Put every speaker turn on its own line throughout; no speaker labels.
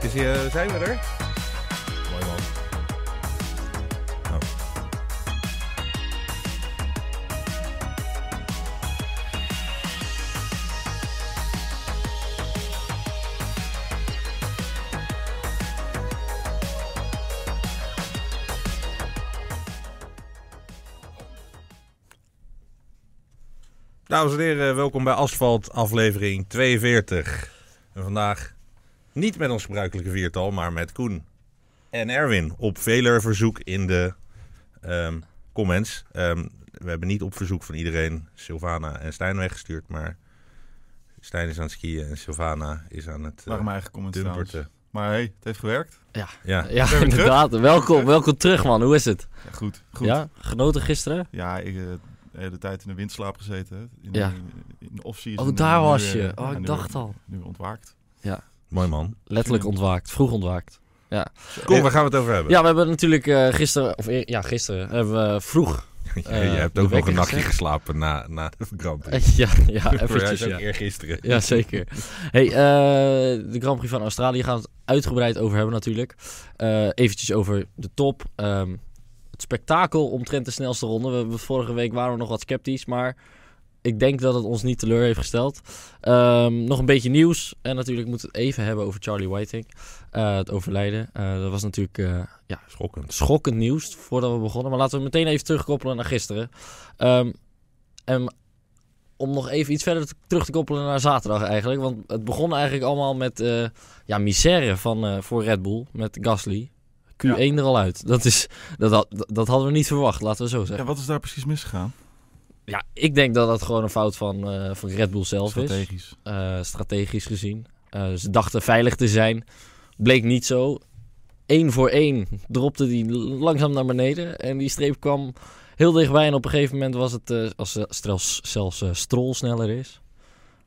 Dus eh, zijn we er?
Mooi man.
Dames en heren, welkom bij Asfalt, aflevering 42. En vandaag niet met ons gebruikelijke viertal, maar met Koen en Erwin. Op veler verzoek in de ehm, comments. Ehm, we hebben niet op verzoek van iedereen Sylvana en Stijn weggestuurd, maar Stijn is aan het skiën en Sylvana is aan het eh,
Waren mijn eigen comments trouwens.
dumperten.
Maar hey, het heeft gewerkt.
Ja,
Ja,
weer
inderdaad. Welkom, welkom terug, man. Hoe is het?
Ja, goed, goed. Ja,
Ja, genoten gisteren?
ik eh, de hele tijd in de windslaap gezeten. hè. In,
Ja.
in de off-season.
Oh, daar
En nu,
was
eh,
je.
ja,
Oh,
nu-
ik dacht al.
Nu ontwaakt.
mooi man.
Letterlijk ontwaakt, vroeg ontwaakt.
Koen, waar gaan we het over hebben?
Ja, we hebben natuurlijk eh, gisteren, of eer- ja, gisteren, hebben we vroeg.
je
eh,
hebt
de
ook nog
wekker
een nachtje
gezet.
geslapen na, na de verkramping.
ja, ja,
Voor jou
eventjes.
is ook
Ja.
eergisteren.
ja, zeker. Hey, eh, de Grand Prix van Australië gaan we het uitgebreid over hebben natuurlijk. Eh eventjes over de top. ehm, het spektakel omtrent de snelste ronde. We, hebben- vorige week waren we nog wat sceptisch, maar ik denk dat het ons niet teleur heeft gesteld. Ehm, nog een beetje nieuws. En natuurlijk moeten we het even hebben over Charlie Whiting. eh, het overlijden. Eh, dat was natuurlijk eh, ja,
Schokkend.
schokkend nieuws voordat we begonnen. Maar laten we meteen even terugkoppelen naar gisteren. Ehm, en om nog even iets verder te- terug te koppelen naar zaterdag eigenlijk. Want het begon eigenlijk allemaal met eh, ja, misère van, eh, voor Red Bull met Gasly. Q1 er al uit. Dat, is, dat, had- dat, dat hadden we niet verwacht, laten we zo
Ja,
zeggen.
wat is daar precies misgegaan?
Ja, ik denk dat dat gewoon een fout van, eh, van Red Bull zelf is.
Strategisch.
Eh, strategisch gezien. Eh, ze dachten veilig te zijn. Bleek niet zo. Eén voor één dropte die l- langzaam naar beneden. En die streep kwam heel dichtbij. En op een gegeven moment was het, eh, als eh, zelfs, zelfs eh, Stroll sneller is.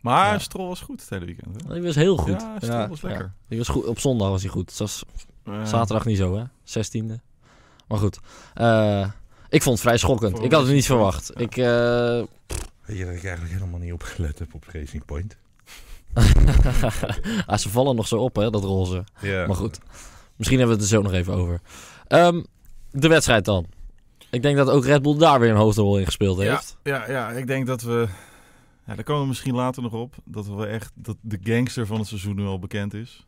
Maar
Ja.
Strol was goed het hele weekend. Hè?
Die was heel goed.
Ja, Stroll was lekker.
Die was goed. Op zondag was hij goed. Het was
Eh,
zaterdag niet zo, hè? 16e. Maar goed. Eh, ik vond het vrij schokkend.
Voor
Ik had het
Racing
niet
Point,
verwacht.
ja.
Ik, eh,
Weet je dat ik eigenlijk helemaal niet opgelet heb op Racing Point?
ah, ze vallen nog zo op, hè, dat roze.
Ja.
Maar goed, misschien hebben we het er zo nog even over. Ehm, de wedstrijd dan. Ik denk dat ook Red Bull daar weer een hoofdrol in gespeeld heeft.
Ja, ja, ik denk dat we... Ja, daar komen we misschien later nog op. Dat we echt dat de gangster van het seizoen nu al bekend is.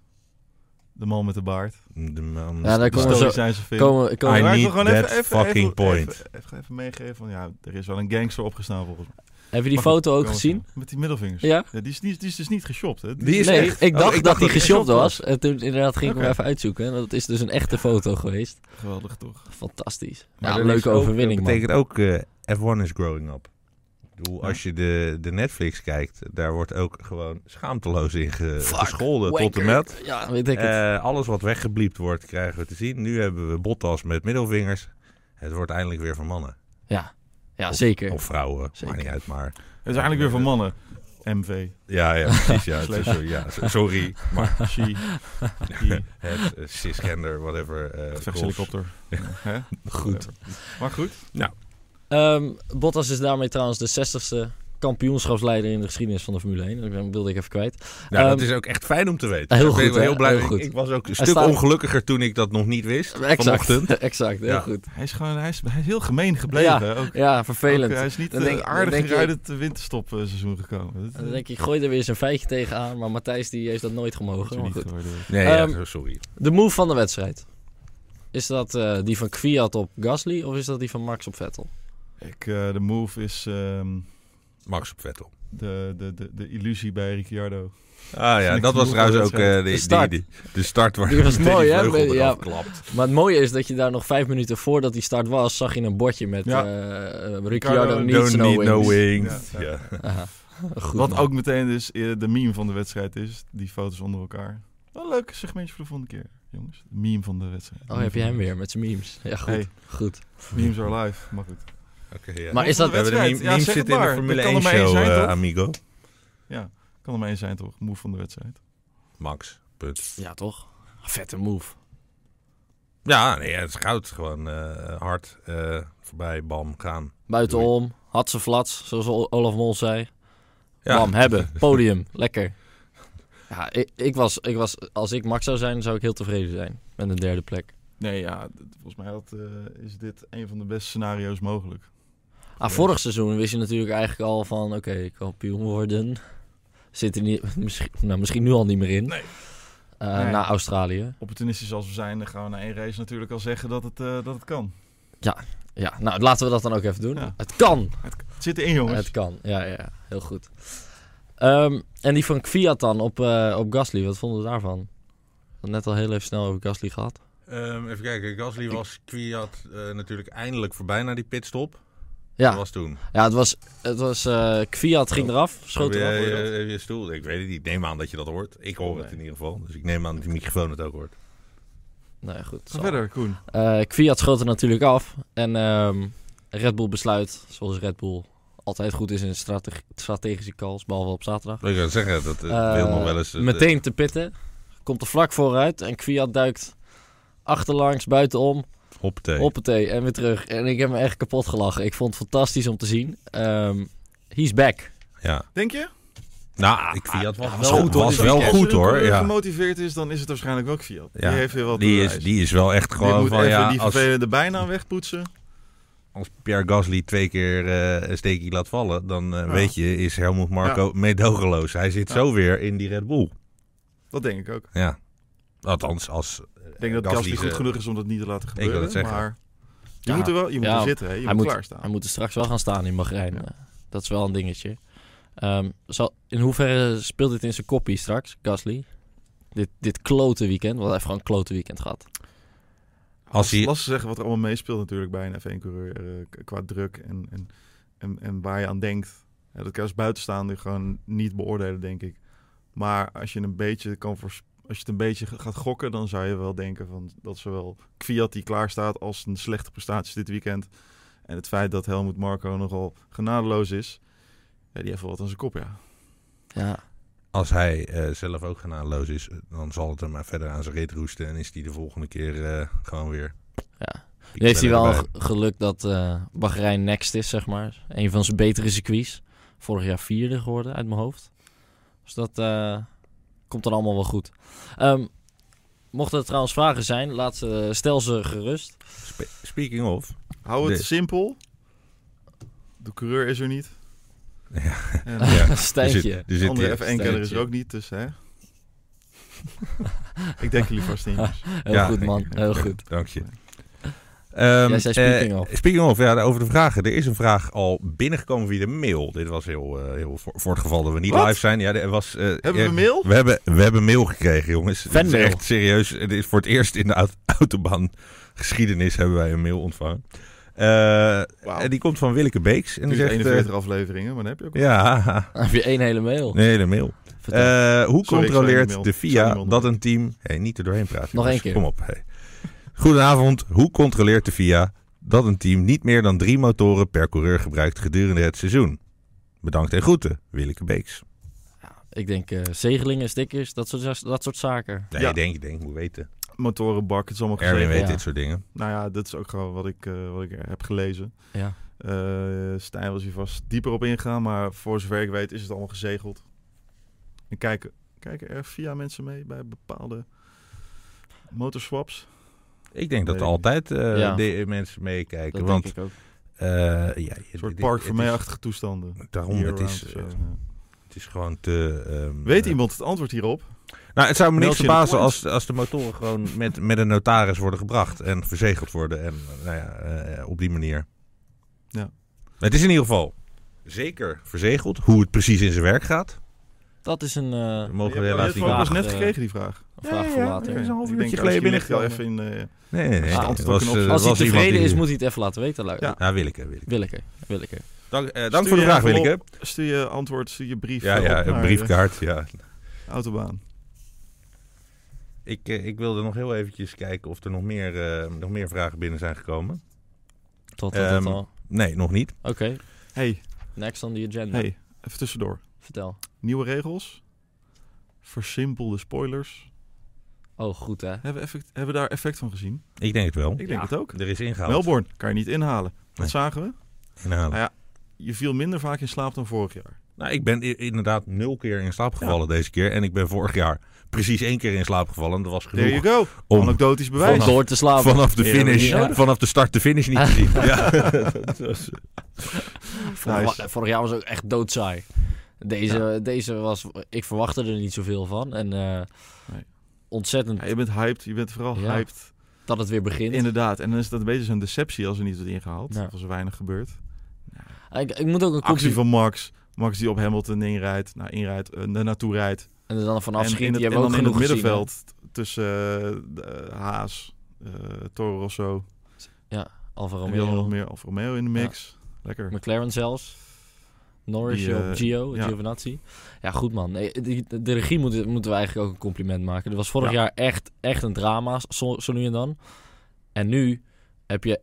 De man met de baard.
De man...
Ja, daar
De
komen we zo-
stoïcijnse film.
Komen, komen,
I
Maar ik wil
need
gewoon
that fucking point.
Even, even, even meegeven van ja, er is wel een gangster opgestaan volgens mij.
heb je
Mag
die
ik
foto ook
Komen
gezien?
zo. Met die middelvingers.
Ja?
Ja, die, is, die, is, die is dus niet geshopt. Hè?
Die is
nee,
echt-
ik
Oh,
dacht dat die
die
geshopt
geshopt
was. En toen inderdaad ging ik
Oké.
hem even uitzoeken. En dat is dus een echte foto geweest.
Geweldig toch?
Fantastisch.
Maar
Ja,
dat
een leuke overwinning,
Dat
man.
betekent ook eh, F1 is growing up. Ik bedoel,
Ja.
als je de, de Netflix kijkt, daar wordt ook gewoon schaamteloos in ge-
Fuck,
gescholden tot en
wanker.
met.
Ja, weet ik het.
Eh, alles wat weggebliept wordt, krijgen we te zien. Nu hebben we Bottas met middelvingers. Het wordt eindelijk weer van mannen.
Ja, ja zeker.
Of vrouwen,
Zeker.
maakt niet uit, maar...
Het is eigenlijk weer voor mannen. MV,
Ja, ja, precies. Ja, het is-
Slash.
sorry, ja, so- sorry, maar
she, he,
het eh, cisgender, whatever. eh, calls.
gevechtshelikopter. Hè?
Goed.
Maar goed.
Ehm, Bottas is daarmee trouwens de 60ste kampioenschapsleider in de geschiedenis van de Formule 1. Dat wilde ik even kwijt.
Nou, dat
Ehm,
is ook echt fijn om te weten.
heel
ik ben
goed,
wel heel
hè?
blij.
Heel
Ik-
goed.
Ik, was ook een stuk
staat-
ongelukkiger toen ik dat nog niet wist. Vanochtend.
Exact, exact heel
Ja.
goed.
Hij is gewoon hij is, hij is heel gemeen gebleven. hè, Ook,
Ja,
ook,
vervelend.
eh, hij is niet
Dan
eh,
denk- dan
aardig
denk je-
uit het winterstopseizoen gekomen. Dat,
Dan denk ik, gooi er weer eens een feitje tegenaan. Maar Matthijs die heeft dat nooit gemogen. Maar
niet
goed.
gewaardeerd.
Nee, ja,
Ehm,
sorry.
De move van de wedstrijd. Is dat eh, die van Kwiat op Gasly of is dat die van Max op Vettel?
Ik, eh, de move is ehm,
Max op Vettel.
de, de, de, de illusie bij Ricciardo.
Ah ja, dat
ik
was
genoeg
trouwens
dat
ook eh,
het-
de, die-
start.
die- de start waar
Die was
meteen
mooi, hè?
vleugel
Ja.
eraf klapt.
Maar het mooie is dat je daar nog vijf minuten voordat die start was, zag je een bordje met
Ja.
eh, eh, Ricciardo
Don't
needs
Don't
no
need
wings.
no wings.
Ja.
Ja.
Aha. Goed,
Wat
man.
ook meteen dus eh, de meme van de wedstrijd is. Die foto's onder elkaar. Wel een leuk segmentje voor de volgende keer, jongens. De meme van de wedstrijd.
Oh, heb je hem weer met zijn memes. Ja, goed.
Hey.
goed.
Memes are live, maar goed.
Oké, ja.
Maar is dat...
we hebben de meme,
wedstrijd. Ja,
meme
zeg
zit
het
in de
maar.
Formule
Er kan er
1
maar één
show,
zijn,
eh,
toch?
amigo.
Kan er maar eens zijn toch, move van de wedstrijd.
Max, punt.
Ja, toch? Vette move.
Ja, nee, het is goud. Gewoon eh, hard, eh, voorbij, bam, gaan.
Buitenom, had ze flats, zoals Olaf Mol zei.
Ja.
Bam, hebben, podium, lekker. Ja, ik, ik was, ik was, als ik Max zou zijn, zou ik heel tevreden zijn met een derde plek.
Nee, ja, d- volgens mij had, eh, is dit een van de beste scenario's mogelijk.
Ah, vorig seizoen wist je natuurlijk eigenlijk al van... Oké, kampioen worden zit er niet, misschien, nou, misschien nu al niet meer in.
Nee.
Eh,
Nee.
Na Australië.
Opportunistisch als we zijn, dan gaan we na één race natuurlijk al zeggen dat het, eh, dat het kan.
Ja, nou laten we dat dan ook even doen.
Ja.
Het kan!
Het zit erin, jongens.
Het kan, ja, ja. Heel goed. Ehm, en die van Kviat dan op, eh, op Gasly, wat vonden we daarvan? We hadden net al heel even snel over Gasly gehad.
Ehm, even kijken, Gasly was Kwiat eh, natuurlijk eindelijk voorbij na die pitstop. Dat
Ja,
was toen.
ja het was... Het was eh, Kviat ging eraf, schoot
Heb
eraf.
je,
hoor je dat?
eh, heb je stoel? Ik weet het niet. Ik neem aan dat je dat hoort. Ik hoor het
Nee.
in ieder geval. Dus ik neem aan dat die microfoon het ook hoort.
Nee, goed.
Ga
zal.
verder, Koen.
Eh Kwiat schoot er natuurlijk af. En ehm, Red Bull besluit, zoals Red Bull altijd goed is in strate- strategische calls, behalve op zaterdag.
Wil ik dat zeggen? Dat eh,
Eh,
wil nog wel eens... eh,
meteen te pitten. Komt er vlak vooruit en Kwiat duikt achterlangs, buitenom,
Hoppatee.
hoppatee en weer terug. En ik heb me echt kapot gelachen. Ik vond het fantastisch om te zien. Ehm, he's back.
Ja.
Denk je?
Nou, ik Fiat was,
Ah, was
wel
goed,
goed
hoor.
hoor. Was
Dus
wel
als
goed
Koen,
hoor.
eh,
Ja.
gemotiveerd is, dan is het waarschijnlijk ook Fiat.
Ja.
Die heeft weer wat
Die
te
is,
bewijzen.
die is wel echt
Die
gewoon
moet
van
even
ja,
die
als,
vervelende bijnaam wegpoetsen.
als Pierre Gasly twee keer eh, een steekje laat vallen, dan eh,
Ja.
weet je, is Helmut Marco meedogenloos. Hij zit
Ja.
zo weer in die Red Bull.
Dat denk ik ook.
Ja. Althans, als...
Ik denk dat
Gasly
Gasly
is,
goed
eh,
genoeg is om dat niet te laten
wil
gebeuren.
het zeggen.
Maar je
Ja.
moet er wel, je moet
Ja,
er zitten, hè. je
hij
moet
moet-
klaarstaan.
Hij moet er straks wel gaan staan in Bahrein.
Ja.
Eh, Dat is wel een dingetje. Ehm, zal, in hoeverre speelt dit in zijn koppie straks, Gasly? Dit, dit klote weekend, want hij heeft gewoon een klote weekend gehad.
Als hij,
Lastig zeggen wat er allemaal meespeelt natuurlijk bij een F1-coureur eh, k- qua druk en, en, en, en waar je aan denkt. Ja, dat kan je als buitenstaander gewoon niet beoordelen, denk ik. Maar als je, een beetje kan voors- als je het een beetje g- gaat gokken, dan zou je wel denken van dat zowel Kwiat die klaar staat als een slechte prestatie dit weekend. En het feit dat Helmut Marco nogal genadeloos is, ja, die heeft wel wat aan zijn kop, ja.
Ja,
als hij eh, zelf ook genadeloos is, eh, dan zal het hem maar verder aan zijn reet roesten. En is hij de volgende keer eh, gewoon weer...
ja.
Ik
Nu heeft hij
ben
wel
erbij.
g- geluk dat eh Bahrein next is, zeg maar. Een van zijn betere circuits. Vorig jaar vierde geworden, uit mijn hoofd. Dus dat eh, komt dan allemaal wel goed. Ehm, mochten er trouwens vragen zijn, laat ze, stel ze gerust.
Spe- Speaking of...
Hou het
Nee.
simpel. De coureur is er niet.
Ja.
En eh,
Ja, er
Stijntje.
Er zit, er
de
zit
andere
hier-
F1-kenner is
Stijntje.
er ook niet, dus hè. ik denk jullie vast dus. in. jongens.
Heel
Ja,
goed,
ik-
man.
ik-
Heel goed.
Dank je.
Jij zei speaking
eh,
of.
Speaking of, ja, over de vragen. Er is een vraag al binnengekomen via de mail. Dit was heel, eh, heel voor, voor het geval dat we niet
Wat?
live zijn. Ja, er was, eh,
Hebben we
eh,
mail?
We hebben, we hebben mail gekregen, jongens. Dit is
Fanmail.
echt serieus. Het is voor het eerst in de au- autobaan geschiedenis hebben wij een mail ontvangen. Eh,
Wauw.
En die komt van Willeke Beeks. En die
Duurt
zegt... eh,
41 afleveringen, maar dan heb je ook...
ja,
Dan heb je één hele mail.
een hele mail.
Vertel.
Eh, hoe
Sorry, sorry,
controleert
Emil.
de
Sorry,
FIA
Emil.
dat een team... Hey, niet er doorheen praten.
Nog
jongens.
één keer.
Kom op. hey. Goedenavond. Hoe controleert de FIA dat een team niet meer dan drie motoren per coureur gebruikt gedurende het seizoen? Bedankt en groeten, Willeke Beeks.
ik denk eh, zegelingen, stickers, dat soort, dat soort zaken.
Nee,
Ja.
ik denk, ik denk, ik moet weten.
Motorenbak, het is allemaal
Erwin
gezegd.
weet
ja.
dit soort dingen.
Nou ja, dat is ook gewoon wat ik, eh, wat ik heb gelezen.
Ja.
Eh, Stijn was hier vast dieper op ingegaan, maar voor zover ik weet is het allemaal gezegeld. En kijken, kijken er via mensen mee bij bepaalde motorswaps?
Ik denk dat
Weet
er
ik
altijd eh,
Ja.
de- mensen meekijken.
Dat
Want
denk ik ook.
eh, ja,
Een
je-
soort
dit-
park
het
voor
is-
mij-achtige toestanden.
Daarom,
Year
het is,
round of
eh,
zo, ja.
het is gewoon te... ehm,
Weet
eh,
iemand het antwoord hierop?
Nou, het zou me
Meld
niks
je in de
verbazen
comments.
als, als de motoren gewoon met, met een notaris worden gebracht en verzegeld worden. En eh, nou ja, eh, op die manier.
Ja.
Het is in ieder geval zeker verzegeld. Hoe het precies in zijn werk gaat,
Dat is een eh,
dat mogen we
Ja,
helaas
die
niet
heb ik
vragen.
pas net
eh,
gekregen, die vraag.
vraag
ja,
voor
ja,
later.
ja. is een half
Ik
uurtje
denk,
geleden
als je ligt wel
binnengekomen.
even in, eh,
Nee, nee, nee.
Ah,
het
antwoord
was,
ook
eh,
een optie.
was
Als hij
iemand
tevreden
die-
is, moet hij het even laten weten, luid.
Ja.
Ja, Willeke. Willeke.
Willeke, Willeke.
Dank, eh, dank
Stuur
voor de
je
vraag,
even op.
Willeke.
eh, stuur je antwoord, stuur je brief
Ja,
eh,
ja,
op
een
naar,
briefkaart. Ja.
eh, autobaan.
Ik, eh, ik wilde nog heel eventjes kijken of er nog meer, eh, nog meer vragen binnen zijn gekomen.
Tot, tot, tot
Ehm,
al.
Nee, nog niet.
Oké,
Hey,
next on the agenda.
hey, even tussendoor.
Vertel.
Nieuwe regels. Versimpel de spoilers.
Oh, goed hè.
Hebben we, effect- hebben we daar effect van gezien?
Ik denk het wel.
Ik denk
Ja.
het ook.
Er is ingehaald.
Melbourne kan je niet inhalen. Dat
Nee.
zagen we.
Inhalen.
Ja. Je viel minder vaak in slaap dan vorig jaar.
Nou, ik ben i- inderdaad nul keer in slaap gevallen deze keer. En ik ben vorig jaar precies één keer in slaap gevallen. En dat was
There
genoeg
you go.
om
Anekdotisch
Om
bewijs.
Vanaf-
door te slapen.
vanaf de,
Ja, dat is
finish,
niet nodig.
vanaf de start de finish niet te zien. ja. Dat was-
Vorig,
Nice.
vorig jaar was ook echt doodzaai. Deze, deze was... Ik verwachtte er niet zoveel van. En eh,
Nee.
ontzettend
Ja, je bent hyped. Je bent vooral
Ja.
hyped.
dat het weer begint.
Inderdaad. En dan is dat een beetje zo'n deceptie als er niet wordt ingehaald.
Ja.
Of als er weinig gebeurt.
ik, ik moet ook een
Actie
kopje...
van Max. Max die op Hamilton inrijdt. Nou, inrijdt. eh, naar naartoe rijdt.
En er dan vanaf
En
schiet.
in het,
Die hebben
en
we ook
dan in
genoeg
het
gezien, hè?
middenveld t- tussen eh, eh, Haas, eh Toro Rosso.
Alfa
En wie hadden we nog
Romeo.
meer? Alfa Romeo in de mix. Lekker.
McLaren zelfs. Norris,
Die, eh,
op Gio,
ja.
Giovinazzi. Ja, goed man. Nee, die- de regie moet, moeten we eigenlijk ook een compliment maken. Dat was vorig
Ja.
jaar echt, echt een drama, zo, zo nu en dan. En nu heb je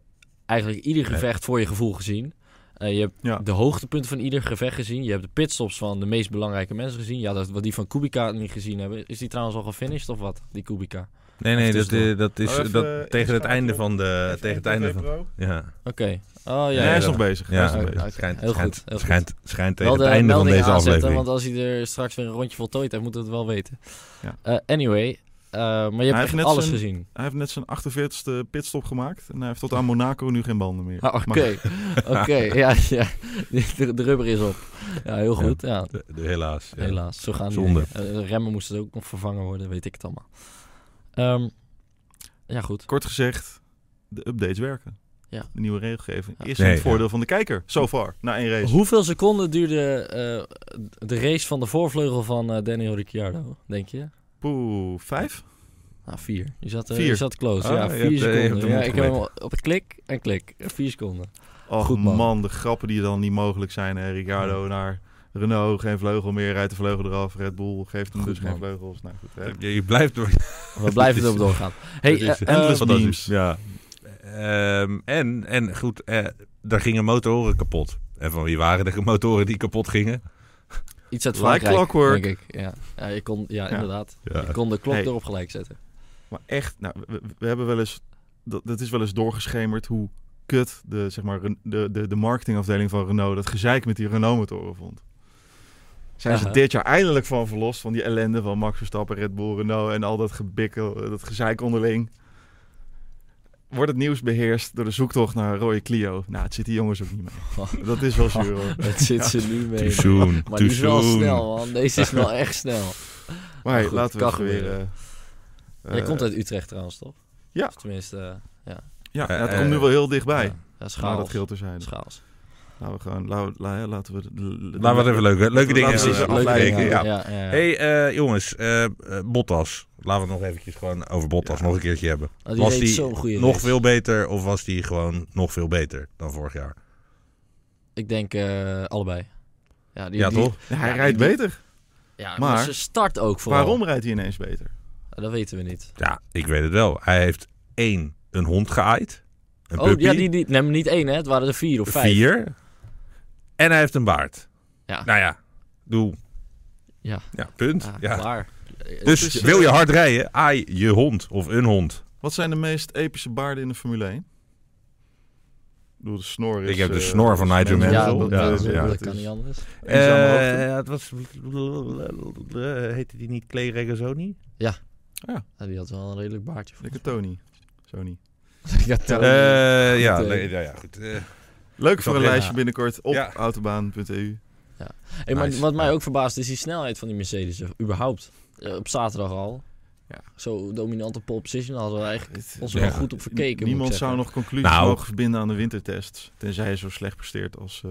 eigenlijk ieder gevecht voor je gevoel gezien. Eh, je hebt
Ja.
de hoogtepunten van ieder gevecht gezien. Je hebt de pitstops van de meest belangrijke mensen gezien. Ja, dat, wat die van Kubica niet gezien hebben. Is die trouwens al gefinished of wat? Die Kubica.
Nee, nee,
Even
dat, eh,
tussendoor.
dat is
Oh, even,
dat,
eh,
tegen het
inschakelen.
einde van de.
Even
Eh, tegen het
één
einde
pro,
van.
één pro.
Ja,
Oké. Oh ja.
Nee, hij is
ja,
nog bezig. hij
ja,
is nog
oké.
bezig.
het schijnt,
Heel
het schijnt,
goed, heel goed.
schijnt, schijnt tegen
wel de
het einde van
melding
deze
aanzetten,
aflevering.
want als hij er straks weer een rondje voltooid heeft, moeten we het wel weten.
Ja.
Eh, anyway, eh, maar je
heeft
hebt echt
net
alles
zijn-
gezien.
Hij heeft net zijn 48ste pitstop gemaakt. En hij heeft tot aan Monaco nu geen banden meer.
Ah, Oké,
Maar-
oké, ja, ja. De, de rubber is op. Ja, heel goed, ja.
De- de- helaas. ja.
Helaas, zo gaan die
Zonde.
dingen. Eh, de remmen moesten ook nog vervangen worden, weet ik het allemaal. Ehm, ja, goed.
Kort gezegd, de updates werken.
Ja.
De nieuwe regelgeving
Ja.
is
Nee,
in het
ja.
voordeel van de kijker. So far, na één race.
Hoeveel seconden duurde eh, de race van de voorvleugel van eh, Daniel Ricciardo, denk je?
Poeh, vijf?
Nou, vier. Je zat, eh,
Vier.
Je zat close,
Ah,
ja.
je
Vier
hebt, eh, je hebt
seconden.
hem
ja,
goed
ik heb hem op het klik en klik. Eh, Vier seconden.
Och
Goed, man.
man. de grappen die dan niet mogelijk zijn. Hè? Ricardo naar Renault, geen vleugel meer, rijdt de vleugel eraf. Red Bull geeft hem
Goed,
dus
man.
geen vleugels. Nou goed, hè.
Je, je blijft door.
We blijven
is-
erop doorgaan. Hey,
het is
eh,
endless
eh,
Fantastisch.
Ja. Ehm, en, en goed, eh, daar gingen motoren kapot. En van wie waren de motoren die kapot gingen?
iets uit
Like
Frankrijk,
clockwork.
denk ik. Ja, ja, je kon, ja,
Ja.
inderdaad.
Ja.
Je kon de klok
Hey.
erop gelijk zetten.
Maar echt, nou, we, we hebben wel eens, dat, dat is wel eens doorgeschemerd hoe kut de, zeg maar, Ren- de, de, de marketingafdeling van Renault dat gezeik met die Renault-motoren vond. Zijn ze
Aha.
dit jaar eindelijk van verlost, van die ellende van Max Verstappen, Red Bull, Renault en al dat gebikkel, eh, dat gezeik onderling. Wordt het nieuws beheerst door de zoektocht naar een rode Clio? Nou, het zit die jongens ook niet mee. Dat is wel zuur hoor.
Het zit ze nu mee.
Too soon.
Maar
too
die is wel
soon.
snel, man. Deze is wel echt snel.
Maar hey,
Goed,
laten we
kan
even weer...
gebeuren.
eh,
Jij
eh,
komt uit Utrecht trouwens, toch?
ja.
Of tenminste, eh,
ja,
Eh,
het
eh,
komt nu wel heel dichtbij.
ja, ja,
maar
Nou,
schaals.
dat geel te zijn.
Schaals.
Laten we gewoon, laten we, la- laten we, de- de-
Laten we het even leuke, leuke dingen
Laten we
eh,
ze
Leuke
afbreken,
dingen,
Ja.
ja, ja, ja.
hey, eh, jongens, eh, eh, Bottas. Laten we het nog eventjes gewoon over Bottas
Ja.
nog een keertje hebben.
Nou,
was
reed
die
zo'n goede
nog
race.
veel beter of was die gewoon nog veel beter dan vorig jaar?
Ik denk eh, allebei. Ja, die,
ja,
die-
toch?
Ja, hij
Ja,
rijdt
die-
beter.
Ja,
Maar-
maar ze start ook vooral.
Waarom rijdt hij ineens beter?
Dat weten we niet.
Ja, ik weet het wel. Hij heeft één, een hond geaaid. Een
oh,
puppy.
ja, die, die, nee, maar niet één, hè. Het waren er vier of vijf.
Vier. En hij heeft een baard.
Ja.
Nou ja, doe.
Ja.
Ja, punt.
Ja,
ja.
Ah, klaar. Eh,
Dus
Het is-
wil je hard rijden, aai je hond of een hond.
Wat zijn de meest epische baarden in de Formule 1? Ik bedoel, de snor is...
Ik heb de
eh,
snor van
is
Nigel
mensen,
Ja,
Mansell.
dat,
dat-
Ja,
dat-
dat-
ja.
dat
dat
is
kan niet anders.
eenzame hoogte.
Eh, het was... Heette die niet Clay Regazzoni?
Ja, die had wel een redelijk baardje voor.
Dikke Tony. Sony.
ja,
Eh,
Tony.
ja,
Goed, eh.
le- ja, ja, goed. eh.
Leuk voor een
Ja.
lijstje binnenkort op E
Ja.
autobaan.eu.
Hey, maar
nice.
wat mij
Ja.
ook verbaast is die snelheid van die Mercedes. eh, Überhaupt. Eh, op zaterdag al.
Ja.
Zo dominante pole position hadden we eigenlijk
Het-
ons
Ja.
wel goed op verkeken. moet
Niemand
ik
zou
zeggen.
nog conclusies
Nou.
mogen verbinden aan de wintertests. Tenzij je zo slecht presteert als eh,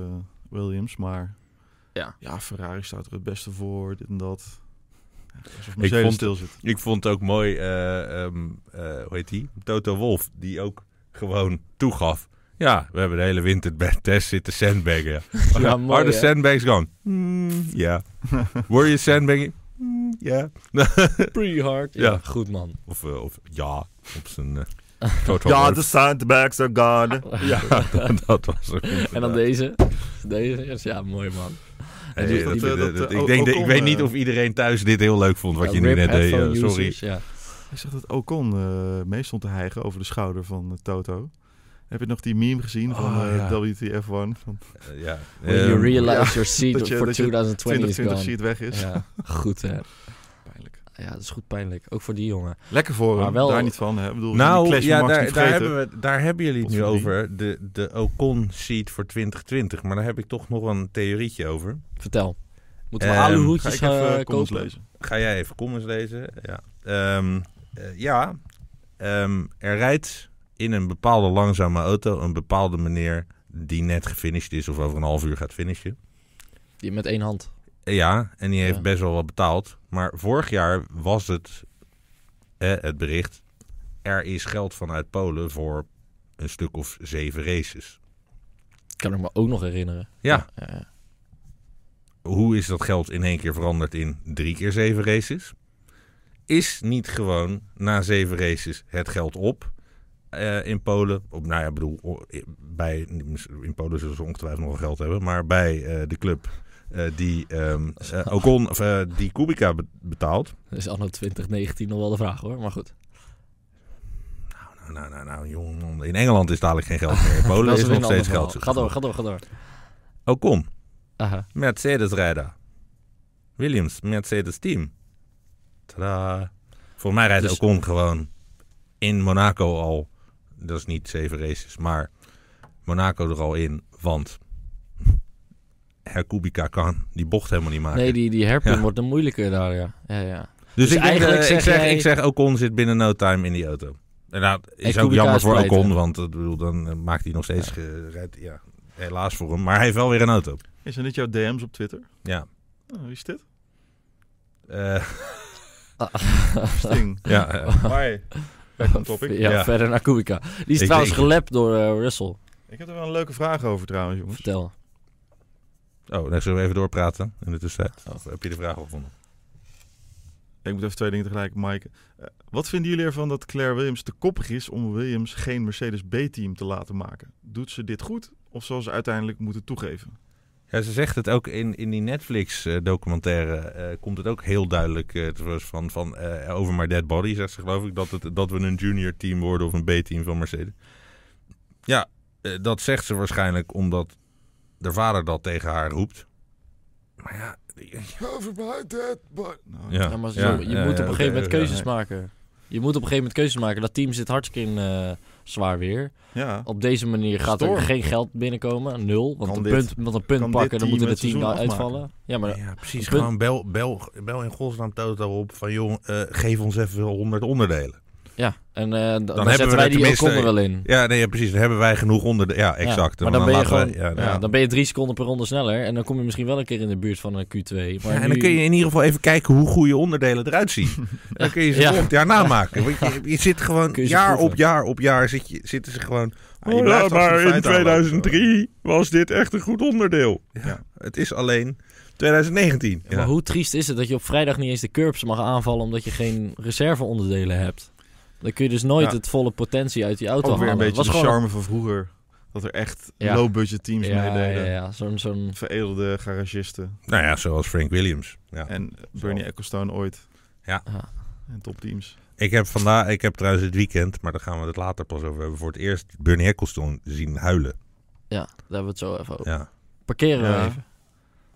Williams. Maar
Ja.
ja, Ferrari staat er het beste voor. Dit en dat. Ja, Alsof
Ik vond-
Mercedes stil zit.
Ik vond het ook mooi, eh, ehm, eh, hoe heet die? Toto Wolf, die ook gewoon toegaf. Ja, we hebben de hele winter bij test zitten sandbaggen. Ja.
Ja, mooi,
Are the
hè?
sandbags gone? Mm, Ja. Were you sandbagging? Mm, Ja.
Pretty hard. Ja.
Ja.
goed man.
Of, eh, of ja, op zijn... eh, Toto
Ja,
Wolff.
de sandbags are gone.
Ja, dat was het.
En dan deze. Deze. Ja, mooi man.
Hey,
Dus
dat-
dat,
dat-
eh,
dat-
dat,
ik,
eh,
denk, dat- ik
Ocon,
weet niet
eh,
of iedereen thuis dit heel leuk vond, wat
Ja,
je nu
rip
net deed.
headphone
eh, sorry.
users, Ja.
Ah, Hij zegt dat Ocon eh mee stond te hijgen over de schouder van eh, Toto. En Heb je nog die meme gezien van
Oh,
eh,
ja.
WTF1? Van
Eh, ja.
When you
Ehm,
realize
ja,
your seat
dat je-
for
dat je
2020 is
2020
gone.
sheet weg is.
Ja, goed hè.
Pijnlijk.
Ja, dat is goed pijnlijk. Ook voor die jongen.
Lekker voor
Maar
hem,
wel-
daar niet van. Hè? Ik bedoel, die
Nou,
clash
ja,
van Max
daar,
niet
daar,
vergeten.
hebben we, daar hebben jullie het nu
Potverdien.
over. De, de Ocon sheet voor 2020. Maar daar heb ik toch nog een theorietje over.
Vertel. Moeten we
Ehm,
Ga ik
aluhoedjes
even
eh,
eh, comments
kopen?
lezen.
Ga jij even comments lezen? Ja. Ehm, eh, ja. Ehm, er rijdt in een bepaalde langzame auto een bepaalde meneer die net gefinished is of over een half uur gaat finishen.
Die met één hand.
Eh, Ja, en die heeft
Ja.
best wel wat betaald. Maar vorig jaar was het eh, het bericht: er is geld vanuit Polen voor een stuk of zeven races.
Kan ik me ook nog herinneren.
Ja.
Ja, ja.
hoe is dat geld in één keer veranderd in drie keer zeven races? Is niet gewoon na zeven races het geld op eh, in Polen? Op, nou ja, ik bedoel, o- bij, in Polen zullen ze ongetwijfeld nog wel geld hebben, maar bij eh, de club eh, die ehm eh, Ocon, of, eh, die Kubica be- betaalt.
Dat is anno 2019 nog wel de vraag hoor. Maar goed.
Nou, nou, nou, nou jongen, in Engeland is dadelijk geen geld meer. In Polen
Dat
is,
weer
nog
een ander
steeds Oh, geld.
verhaal. Ga door, ga door, ga door.
Ocon,
Aha.
Mercedes-rijder. Williams, Mercedes-team. Tada. Volgens mij rijdt
Dus-
Ocon gewoon in Monaco al. Dat is niet zeven races, maar Monaco er al in. Want Herkubica kan die bocht helemaal niet maken.
Nee, die, die herpin
Ja.
wordt een moeilijker daar, ja. ja, ja.
dus ik, denk,
eigenlijk
eh,
zeg
ik, zeg,
jij-
ik zeg Ocon zit binnen no time in die auto. En dat is
En
ook
Kubica
jammer
is
voor
kwijt,
Ocon,
hè?
want eh, bedoel, dan eh, maakt hij nog steeds... ge- rijdt- ja, helaas voor hem, maar hij heeft wel weer een auto.
Is er niet jouw DM's op Twitter?
Ja.
Oh, wie is dit?
Eh,
Sting.
ja eh.
Hi. Back on topic.
Ja,
Ja.
verder naar Kubica. Die is
Ik
trouwens
denk-
gelept door eh, Russell.
Ik heb er wel een leuke vraag over trouwens, jongens.
Vertel.
Oh, dan zullen we even doorpraten in de tussentijd.
Oh.
Of heb je de vraag al gevonden?
Ik moet even twee dingen tegelijk, Mike. Eh, wat vinden jullie ervan dat Claire Williams te koppig is om Williams geen Mercedes B-team te laten maken? Doet ze dit goed of zal ze uiteindelijk moeten toegeven?
Ja, ze zegt het ook in, in die Netflix-documentaire. eh, komt het ook heel duidelijk eh, te- van, van eh, Over My Dead Body, zegt ze geloof ik. Dat, het, dat we een junior team worden of een B-team van Mercedes. Ja, eh, dat zegt ze waarschijnlijk omdat de vader dat tegen haar roept. Maar ja,
Over my dead but...
ja,
Ja, maar zo-
ja, ja,
je moet
ja,
op een
oké,
gegeven moment
ja.
keuzes
ja.
maken. Je moet op een gegeven moment keuzes maken. Dat team zit hartstikke in eh, zwaar weer.
Ja,
Op deze manier gaat
Storm.
er geen geld binnenkomen. Nul. Want
Kan
een
dit-
punt, want
kan
een punt
dit
pakken, dan
team
moeten de
het
tien
seizoen
uitvallen. Ja, maar
ja precies.
een punt-
Gewoon bel, bel, bel in godsnaam Toto op van... joh, eh, geef ons even 100 onderdelen.
ja. En eh, dan, dan
hebben we
zetten
er
wij die ook
tenminste-
er wel in.
Ja, nee, ja, precies. Dan hebben wij genoeg onder de... Ja, exact.
maar dan
Want
ben je
laten
gewoon-
wij-
ja,
Ja, dan ben je drie seconden per ronde sneller. En dan kom je misschien wel een keer in de buurt van een Q2. Maar
Ja, en
nu-
dan kun je in ieder geval even kijken hoe goede onderdelen eruit zien. Dan kun je ze
Ja.
volgend jaar namaken. Want je, je zit gewoon
Kun je ze
jaar
proeven.
op jaar op jaar zit je, zitten ze gewoon...
Ah, je blijft achter de feiten
was dit echt een goed onderdeel. Ja,
Ja.
Het is alleen 2019.
Ja, Maar hoe triest is het dat je op vrijdag niet eens de curbs mag aanvallen omdat je geen reserveonderdelen hebt? Dan kun je dus nooit
Ja.
het volle potentie uit die
ook
auto
weer
halen.
een beetje
oh, was
de
gewoon
charme van vroeger. Dat er echt
Ja.
low-budget teams
ja,
meededen.
Ja, ja. Zo'n, zo'n...
Veredelde garagisten.
Nou ja, zoals Frank Williams. Ja.
En Bernie Ecclestone ooit.
ja.
En topteams.
Ik heb vandaag, ik heb trouwens het weekend, maar daar gaan we het later pas over hebben. Voor het eerst Bernie Ecclestone zien huilen.
ja, daar hebben we het zo even over.
Ja.
Parkeren we
Ja.
even.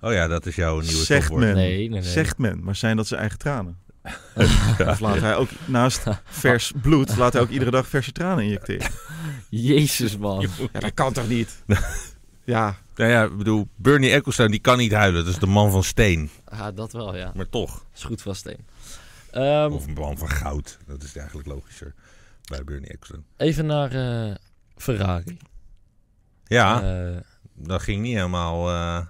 Oh ja, dat is jouw nieuwe
Zegt
topwoord.
men. En-
Nee, nee, nee.
Zegt men, maar zijn dat zijn eigen tranen? Of laat hij ook naast vers bloed, laat hij ook iedere dag verse tranen injecteren.
Jezus, man.
Ja, dat kan toch niet? Ja,
Nou ja, ik bedoel, Bernie Ecclestone die kan niet huilen. Dat is de man van steen.
Ah, dat wel, ja.
Maar toch.
Is goed van steen. Ehm,
Of een man van goud. Dat is eigenlijk logischer bij Bernie Ecclestone.
even naar eh, Ferrari.
Ja,
Eh,
dat ging niet helemaal... eh,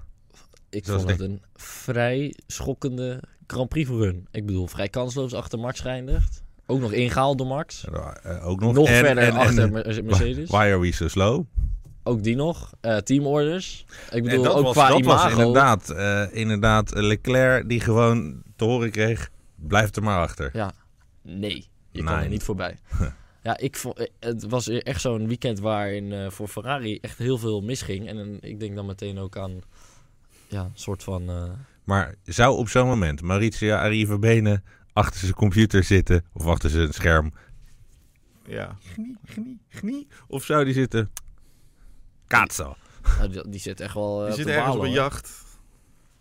ik
Zoals
vond het een vrij schokkende Grand Prix run. Ik bedoel, vrij kansloos achter Max geëindigd. Ook nog ingehaald door Max.
eh, ook nog.
Nog,
En-
verder
en- en-
achter Mer- Mercedes.
Why are we so slow?
Ook die nog. Eh teamorders. Ik bedoel,
en dat
ook
was,
qua
dat was
imago.
inderdaad, eh, inderdaad Leclerc die gewoon te horen kreeg... Blijf er maar achter.
Nee, je kan
Nee.
er niet voorbij. ja, ik vond, eh, het was echt zo'n weekend waarin eh, voor Ferrari echt heel veel misging. En eh, ik denk dan meteen ook aan ja, een soort van... eh,
Maar zou op zo'n moment Maurizio Arrivabene achter zijn computer zitten... of achter zijn scherm...
ja.
Gnie, gnie, gnie. Of zou die zitten... Katso.
Nou, die, die zit echt wel. eh,
Je zit
te
ergens op
balen,
een
hoor.
jacht.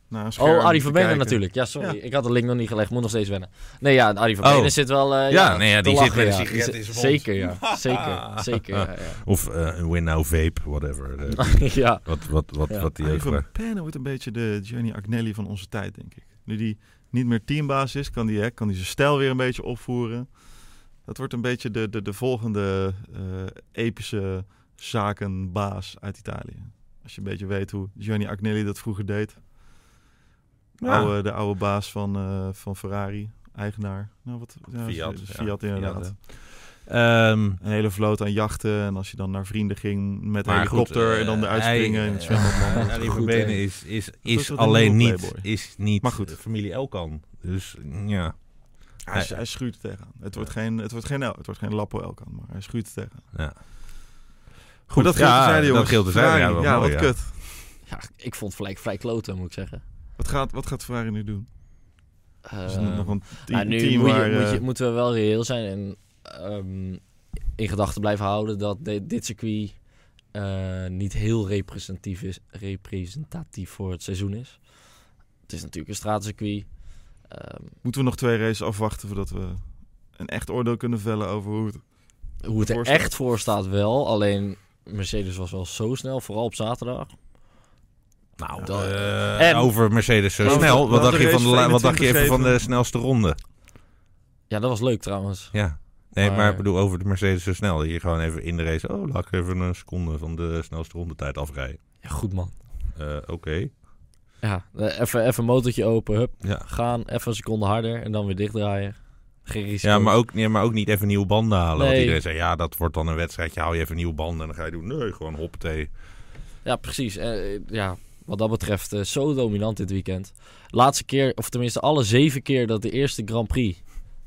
naar een scherm
Oh, Arie
te
van Benen
kijken.
natuurlijk. Ja, sorry.
Ja.
Ik had de link nog niet gelegd. Moet nog steeds wennen. Nee, ja, Arie van
Oh.
Benen zit wel... eh,
Ja, nee, ja,
te
die zit met een
ja.
sigaret
Die
in
zit-
zijn mond.
Zeker, ja. Zeker, zeker, ja.
Of eh, een Winnow Vape, whatever. eh,
ja. ja.
wat, wat, wat,
Ja.
wat die
Arie
heeft.
van Benen wordt een beetje de Gianni Agnelli van onze tijd, denk ik. Nu die niet meer teambaas is, kan die, hè, kan die zijn stijl weer een beetje opvoeren. Dat wordt een beetje de, de, de volgende eh, epische zakenbaas uit Italië. Als je een beetje weet hoe Gianni Agnelli dat vroeger deed.
Ja.
Oude, de oude baas van, eh, van Ferrari, eigenaar. Nou, wat, ja,
Fiat,
Fiat,
ja.
inderdaad.
Fiat. Ehm,
Een hele vloot aan jachten. En als je dan naar vrienden ging met
Maar
helikopter
goed,
en dan
eh,
eruit springen
hij-
en het zwembad.
Ja, die
Goed,
Verbenen
hè.
is, is,
is
is
wat
alleen
een nieuwe
niet,
playboy.
is niet
Maar goed.
familie Elkan. Dus ja.
Hij, hij schuurt er tegenaan. Het wordt geen, het wordt geen, el- het wordt geen Lappo Elkan, maar hij schuurt er tegenaan.
ja.
Goed, dat geldt
ja,
te zeiden,
dat
jongens.
geldt te zeiden,
Ferrari,
ja, wel
ja,
mooi,
wat
ja.
kut.
ik vond het vrij, vrij kloten, moet ik zeggen.
Wat gaat, wat gaat Ferrari nu doen? Is het
Eh,
nog een te-
nou, nu
team
moet je,
waar...
moet je,
eh,
moeten we wel reëel zijn en ehm, in gedachten blijven houden dat de- dit circuit eh, niet heel representatief is, representatief voor het seizoen is. Het is natuurlijk een straatcircuit. Ehm,
moeten we nog twee races afwachten voordat we een echt oordeel kunnen vellen over hoe het...
Hoe het er
Voorstaat.
echt voor staat wel. Alleen Mercedes was wel zo snel, vooral op zaterdag.
Nou,
Dat-
eh,
en-
over Mercedes zo
Nou, Laten we-
snel. Wat
laten
dacht
we
je van de, la- wat dacht je
21
even van de
geven.
snelste ronde?
Ja, dat was leuk trouwens.
Ja. Nee, maar,
Maar-
ik bedoel over de Mercedes zo snel. Hier gewoon even in de race. Oh, laat ik even een seconde van de snelste rondetijd afrijden.
Ja, goed man.
Eh, Oké.
Ja, eh, even, even een motortje open, hup,
Ja.
gaan, even een seconde harder en dan weer dichtdraaien. Geen risico.
Ja, maar ook, nee, maar ook niet even nieuwe banden halen. Want
Nee.
iedereen zei, ja, dat wordt dan een wedstrijdje. Haal je even nieuwe banden en dan ga je doen. Nee, gewoon hoppatee.
Ja, precies. Eh, eh, ja, wat dat betreft eh, zo dominant dit weekend. Laatste keer, of tenminste alle zeven keer dat de eerste Grand Prix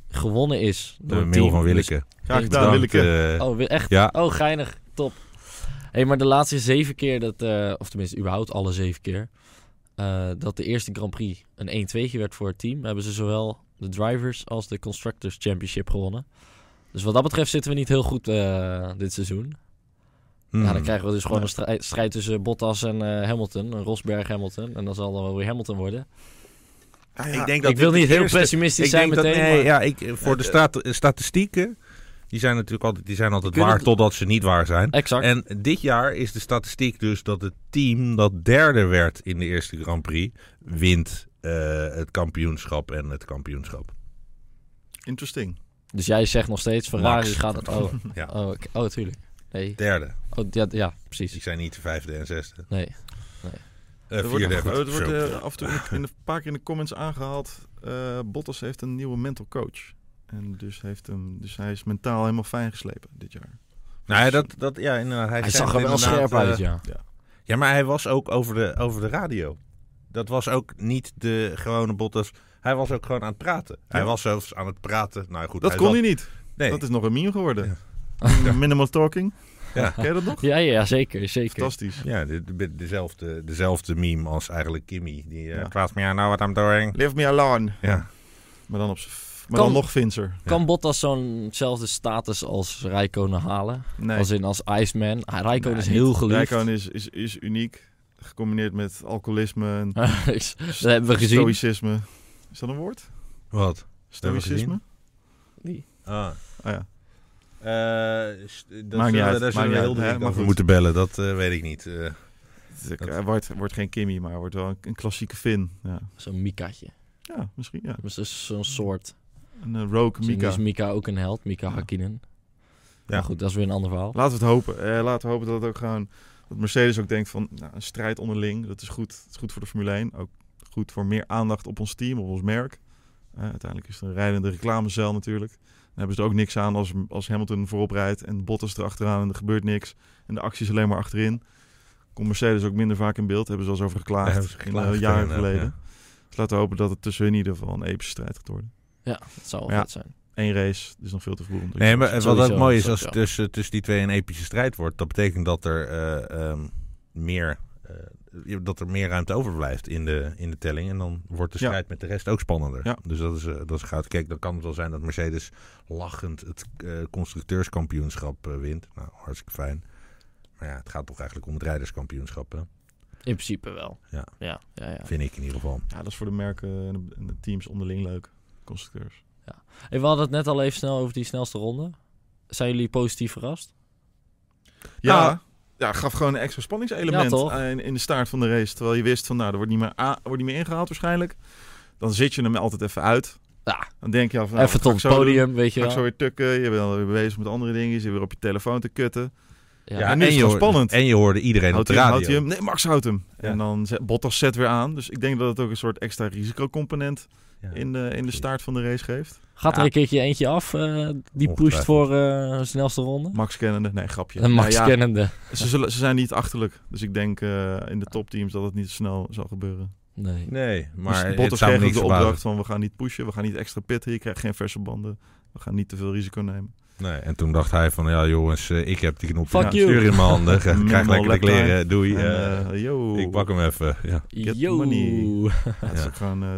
gewonnen is.
De
Door een
mail
team.
van Willeke.
Graag
Ik
gedaan,
Bedankt,
Willeke.
eh,
Oh, wi- echt?
Ja.
Oh, geinig. Top. hey, maar de laatste zeven keer dat... eh, of tenminste, überhaupt alle zeven keer... eh, dat de eerste Grand Prix een 1-2'tje werd voor het team... hebben ze zowel de Drivers als de Constructors Championship gewonnen. Dus wat dat betreft zitten we niet heel goed eh, dit seizoen.
hmm.
Ja, dan krijgen we dus gewoon
Nee.
een strijd, strijd tussen Bottas en eh, Hamilton. Een Rosberg-Hamilton. En dan zal dan wel weer Hamilton worden.
Ah, ja,
Ik denk dat
Ik wil
dit
niet
de
heel
eerste-
pessimistisch
Ik
zijn
denk dat,
meteen,
nee,
maar-
ja, ik, eh, voor de stat- statistieken, die zijn natuurlijk altijd, die zijn altijd
Die kunnen-
waar totdat ze niet waar zijn.
Exact.
En dit jaar is de statistiek dus dat het team dat derde werd in de eerste Grand Prix, wint eh, het kampioenschap en het kampioenschap.
Interesting.
Dus jij zegt nog steeds, Ferrari
Max.
gaat het... Oh,
Ja.
oh, oké. oh, tuurlijk. Nee.
Derde.
Oh, ja, ja,
Die
precies.
zijn niet de vijfde en zesde.
Nee.
Eh,
Er wordt,
vierde.
nog-
even.
het wordt
Zo.
eh, af en toe in de- in de- een paar keer in de comments aangehaald. eh, Bottas heeft een nieuwe mental coach. En dus, heeft hem, dus hij is mentaal helemaal fijn geslepen dit jaar.
nou ja, dat, dat, ja, inderdaad, hij,
Hij
zei
zag er wel
inderdaad,
scherp
eh,
uit, ja.
Ja, maar hij was ook over de, over de radio. Dat was ook niet de gewone Bottas. Hij was ook gewoon aan het praten. Hij
Ja.
was zelfs aan het praten. Nou goed,
Dat
hij
kon
zat-
hij niet.
Nee.
Dat is nog een meme geworden. Mm,
Ja.
Minimal talking.
Ja.
Ken je dat nog?
Ja, ja, zeker, zeker.
Fantastisch.
Ja, de, de- dezelfde, dezelfde meme als eigenlijk Kimmy. Die eh,
Ja.
praat me aan nou wat I'm doing.
Leave me alone.
Ja.
Maar dan, op z'n- maar dan
Kan-
nog Vincer.
Kan Bottas zo'nzelfde status als Rijkonen halen?
Nee.
Als in als Iceman. Ah, Rijkonen is
Nee,
heel geliefd.
Rijkoon is, is, is uniek. Gecombineerd met alcoholisme en
Dus dat hebben we gezien.
stoïcisme. Is dat een woord?
Wat? Hebben we
Stoïcisme?
Ah.
Ah ja.
Eh, s- dat
Maakt
zullen
niet
we-
uit,
Daar zullen
maakt niet
we
uit,
heel
hè,
direct
maar
over
goed.
moeten bellen. Dat eh, weet ik niet. Eh,
Het- Hij wordt, wordt geen Kimmy, maar hij wordt wel een, een klassieke Fin. Ja.
Zo'n Mikaatje.
ja, misschien ja.
Dat is dus zo'n soort.
Een eh, rogue
Mika.
Mika.
Is Mika ook een held? Mika
Ja.
Hakkinen.
Ja.
Maar goed, dat is weer een ander verhaal.
Laten we het hopen. Eh, laten we hopen dat het ook gewoon... Dat Mercedes ook denkt van nou, een strijd onderling. Dat is goed. Dat is goed voor de Formule 1. Ook goed voor meer aandacht op ons team, op ons merk. Eh, uiteindelijk is er een rijdende reclamecel natuurlijk. Dan hebben ze er ook niks aan als, als Hamilton voorop rijdt en Bottas erachteraan en er gebeurt niks. En de actie is alleen maar achterin. Komt Mercedes ook minder vaak in beeld. Hebben ze al eens over
daar
geklaagd.
hebben ze geklaagd,
in, eh, jaren
inderdaad,
geleden.
ja.
Dus laten we hopen dat het tussen hun in ieder geval een epische strijd gaat worden.
Ja, dat zou wel
Ja.
vet zijn.
Eén race, dus nog veel te vroeg. om te-
Nee, maar eh, wat ook
Sowieso,
mooi is, als
sowieso.
het tussen, tussen die twee een epische strijd wordt, dat betekent dat er, eh, ehm, meer, eh, dat er meer ruimte overblijft in de, in de telling. En dan wordt de
Ja.
strijd met de rest ook spannender.
Ja.
Dus dat is, eh, dat is goud. Kijk, dan kan het wel zijn dat Mercedes lachend het eh, constructeurskampioenschap eh, wint. Nou, hartstikke fijn. Maar ja, het gaat toch eigenlijk om het rijderskampioenschap, hè?
In principe wel.
Ja.
Ja, ja, ja.
vind ik in ieder geval.
Ja, dat is voor de merken en de- en de teams onderling leuk. Constructeurs.
Hey, we hadden het net al even snel over die snelste ronde. Zijn jullie positief
Nou,
verrast?
Ja,
Nou,
Ah. ja gaf gewoon een extra
Ja,
spanningselement
toch?
aan- in, in de staart van de race. Terwijl je wist van, nou, er wordt niet meer, a- wordt niet meer ingehaald waarschijnlijk. Dan zit je hem altijd even uit.
Ja.
Dan denk je al van, nou,
even
wat ga
tot
ik
het
zo doen?
podium, weet je
Ga ik zo
wel.
weer tukken. Je bent alweer bezig met andere dingen. Je zit weer op je telefoon te kutten.
Ja.
Ja, nu is
je
het wel
hoor-
spannend.
En je hoorde iedereen
Houdt
op
hij,
de
hem,
radio.
houdt hij hem? Nee, Max houdt hem.
Ja.
En dan zet Bottas zet weer aan. Dus ik denk dat het ook een soort extra risicocomponent
Ja.
in, de, in de staart van de race geeft.
Gaat er
Ja.
een keertje eentje af eh, die pusht
Ongetwijfeld.
voor eh, snelste ronde?
Max kennende. Nee, grapje.
Een Max
Nou ja,
kennende.
ze, zullen, ze zijn niet achterlijk. Dus ik denk eh, in de topteams dat het niet snel zal gebeuren.
Nee.
Nee,
Maar
maar
dus
het
Bottas
zou me
kreeg
niks
ook de
verbazen.
opdracht van we gaan niet pushen. We gaan niet extra pitten. Je krijgt geen verse banden. We gaan niet te veel risico nemen.
Nee, en toen dacht hij van, ja jongens, eh, ik heb die knop
Fuck
ja,
you.
stuur in mijn handen. Krijg
Minimal
lekker de
laptime.
kleren, doei.
En,
eh,
eh, yo.
ik pak hem even, ja.
Get
Yo.
money. Ja, het is
Ja.
ook gewoon, eh,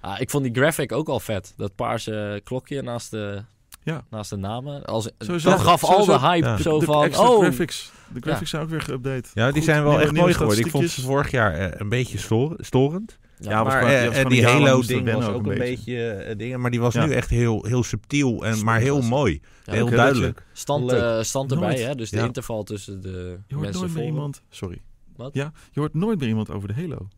Ah, ik vond die graphic ook al vet. Dat paarse klokje naast de,
Ja.
naast de namen. Als,
Sowieso.
dat gaf al
Sowieso.
de hype
Ja.
zo
de,
van...
extra
oh,
graphics. De graphics zijn ook weer geüpdate.
Ja, die
Goed,
zijn wel
nieuwe-
echt
nieuwe
mooi geworden. Ik vond ze
statistiekjes.
vorig jaar eh, een beetje stor- storend.
Ja,
was
maar,
gewoon-
eh,
ja,
en
was gewoon
die
een jaar lang
Halo
moesten
ding
wennen
was
ook
ook
een
een beetje eh, dingen. Maar die was
Ja.
nu echt heel, heel subtiel, en, maar heel
Stom.
mooi.
Ja,
heel
oké, dat
duidelijk.
stand,
Leuk.
eh, stand erbij,
Nooit.
hè. Dus de
Ja.
interval tussen de
Je hoort
mensen
nooit
voor.
meer iemand. Sorry.
Wat?
Ja, je hoort nooit meer iemand over de Halo.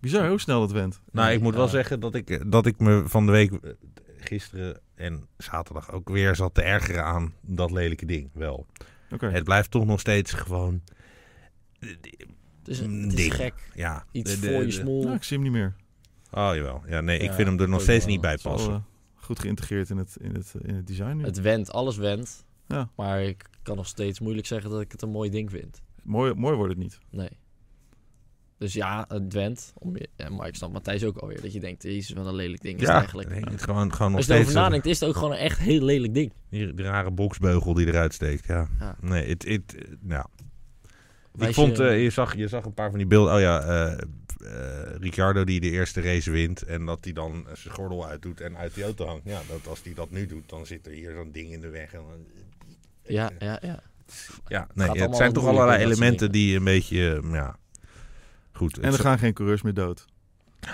Bizar hoe snel dat went.
Nou,
Nee,
ik moet wel
ja.
zeggen dat ik, eh, dat ik me van de week eh, gisteren en zaterdag ook weer zat te ergeren aan dat lelijke ding. Wel.
Oké.
Het blijft toch nog steeds gewoon.
Het is, het is
Ding.
gek.
Ja,
Iets
de- de-
voor je
de-
smoel.
Nou, ik zie hem niet meer.
Oh jawel. Ja, nee, ik
Ja,
vind hem er nog
ook
steeds
wel.
niet bij
Het is wel,
passen.
eh, goed geïntegreerd in het, in het, in het design nu.
Het wendt, alles wendt.
Ja.
Maar ik kan nog steeds moeilijk zeggen dat ik het een mooi ding vind.
Mooi, mooi wordt het niet.
Nee. Dus ja, het wendt. Om je- ja, Maar ik snap Matthijs ook alweer. Dat je denkt, jezus, wat een lelijk ding is het
Ja,
eigenlijk.
nee, gewoon, gewoon nog
Als je erover
steeds eh,
nadenkt, is het ook gewoon een echt heel lelijk ding.
die, die rare boksbeugel die eruit steekt. Ja.
Ja.
Nee, het, het, eh, nou,
Wijs
ik vond,
je-
eh, je, zag, je zag een paar van die beelden. Oh ja, eh, eh, Ricciardo die de eerste race wint. En dat hij dan zijn gordel uitdoet en uit die auto hangt. Ja, dat, als hij dat nu doet, dan zit er hier zo'n ding in de weg. En, dan-
Ja, ja,
ja,
ja.
nee,
allemaal
het
wat
zijn toch
moeilijker,
allerlei
dat soort
elementen die een beetje, eh, ja... Goed,
En
het
er
is
gaan geen coureurs meer dood.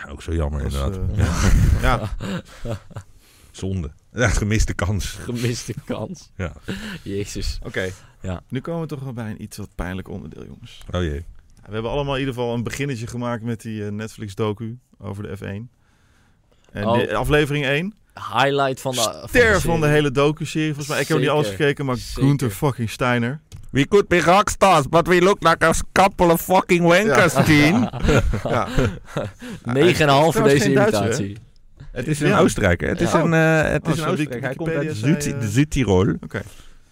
ook zo jammer
Dat is,
inderdaad.
eh,
Ja,
ja,
zonde. Ja, gemiste kans.
Gemiste kans.
Ja.
Jezus.
oké.
Ja.
Nu komen we toch wel bij een iets wat pijnlijk onderdeel, jongens.
Oh jee.
We hebben allemaal in ieder geval een beginnetje gemaakt met die eh, Netflix-docu over de F1. En
Oh.
de- aflevering 1.
Highlight van de...
Ster van de,
serie.
hele docu-serie. Volgens mij, ik heb niet alles
Zeker.
gekeken, maar
Zeker.
Gunther fucking Steiner.
We could be rockstars, but we look like a couple of fucking wankers, Gene.
Ja.
Negen en een half voor
Trouwens,
deze
geen Duitser,
imitatie.
Het is
Ja.
een Oostenrijker. Het is
Ja.
een, eh, het
Oh,
is een
zo
Oostenrijker. Hij komt uit
Wikipedia zei,
Zuid-
eh,
Zuid-Tirol.
Oké.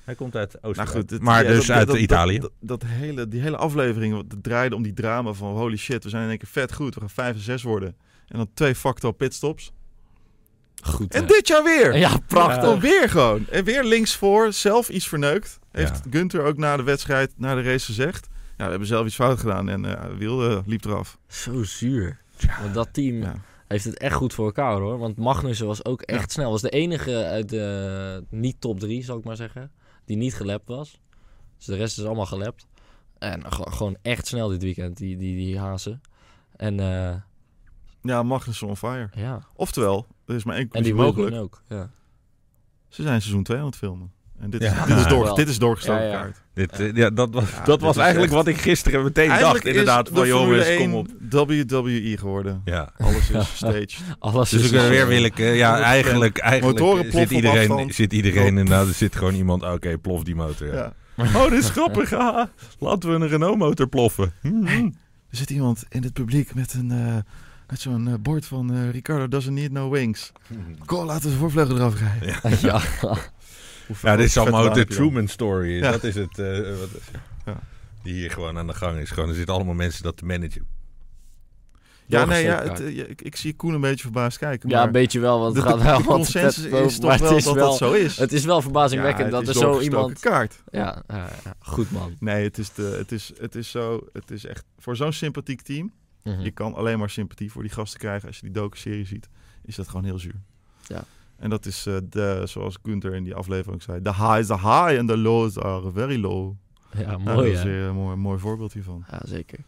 Hij komt uit
Nou
Oostenrijk.
goed, dit-
maar
ja,
dus
dat-
uit
dat-
Italië.
Dat, dat hele, die hele aflevering wat- dat draaide om die drama van holy shit, we zijn in één keer vet goed, we gaan 5 en 6 worden. En dan twee factor pitstops.
Goed.
En dit jaar weer!
Ja, prachtig.
Dan Oh, weer gewoon. En weer linksvoor, zelf iets verneukt. Heeft
Ja.
Gunther ook na de wedstrijd, na de race gezegd. Ja, we hebben zelf iets fout gedaan en eh Wiel eh, liep eraf.
Zo zuur. Want dat team
Ja.
heeft het echt goed voor elkaar hoor. Want Magnussen was ook echt snel. Was de enige uit de niet top 3, zal ik maar zeggen. Die niet gelapt was. Dus de rest is allemaal gelapt. En ge- gewoon echt snel dit weekend, die, die, die hazen. En eh,
Ja, Magnussen on fire.
ja,
Oftewel, er is maar één
en die
conclusie mogelijk.
Wilken ook. Ja.
Ze zijn seizoen 2 aan het filmen. En dit,
Ja.
is, dit, is, door,
Wel.
dit is doorgestoken
Ja, ja.
kaart.
Dit, eh, ja, dat was,
Ja,
dat
dit
was
is
eigenlijk
echt-
wat ik gisteren meteen
Eigenlijk
dacht. Inderdaad,
is
van
de Formule
jongens,
1
kom op.
WWE E geworden.
Ja,
Alles is staged.
Alles
dus
is
ik ben weer
willen.
willeke. Ja, eigenlijk,
Motoren
eigenlijk zit
ploffen op
iedereen,
afstand.
zit iedereen inderdaad. Er zit gewoon iemand, ah, oké, plof die motor. ja.
Ja.
Oh, dit is grappig. haha. Laten we een Renault-motor ploffen. Hmm.
Er zit iemand in het publiek met, een, eh, met zo'n eh, bord van eh, Ricardo doesn't need no wings. Go, laten we de voorvleugel eraf rijden.
Ja.
Ja, dit is
Vet
allemaal de
wapen, joh.
Truman Story. is.
Ja.
Dat is het. eh, wat-
Ja.
Die hier gewoon aan de gang is. Gewoon, er zitten allemaal mensen dat te managen.
Ja, nee, ja,
Doorgestoken
het, eh, ja, ik, ik zie Koen een beetje verbaasd kijken.
ja,
maar
een beetje wel, want
de,
het
de-
gaat
de
wel wat
consensus
vet
is
boven, maar
toch wel
het
dat
is
dat zo is.
Het is wel verbazingwekkend
Ja, het
dat er
is
zo
doorgestoken
iemand...
kaart.
Ja, ja, ja, goed man.
Nee, het is, de, het, is, het is zo... Het is echt... Voor zo'n sympathiek team...
Hm.
Je kan alleen maar sympathie voor die gasten krijgen. Als je die docu-serie ziet, is dat gewoon heel zuur.
Ja.
En dat is, eh, de, zoals Gunther in die aflevering zei... The highs are high and the lows are very low.
Ja,
Nou,
mooi
dat is
hè?
weer een mooi, mooi voorbeeld hiervan.
Ja, zeker.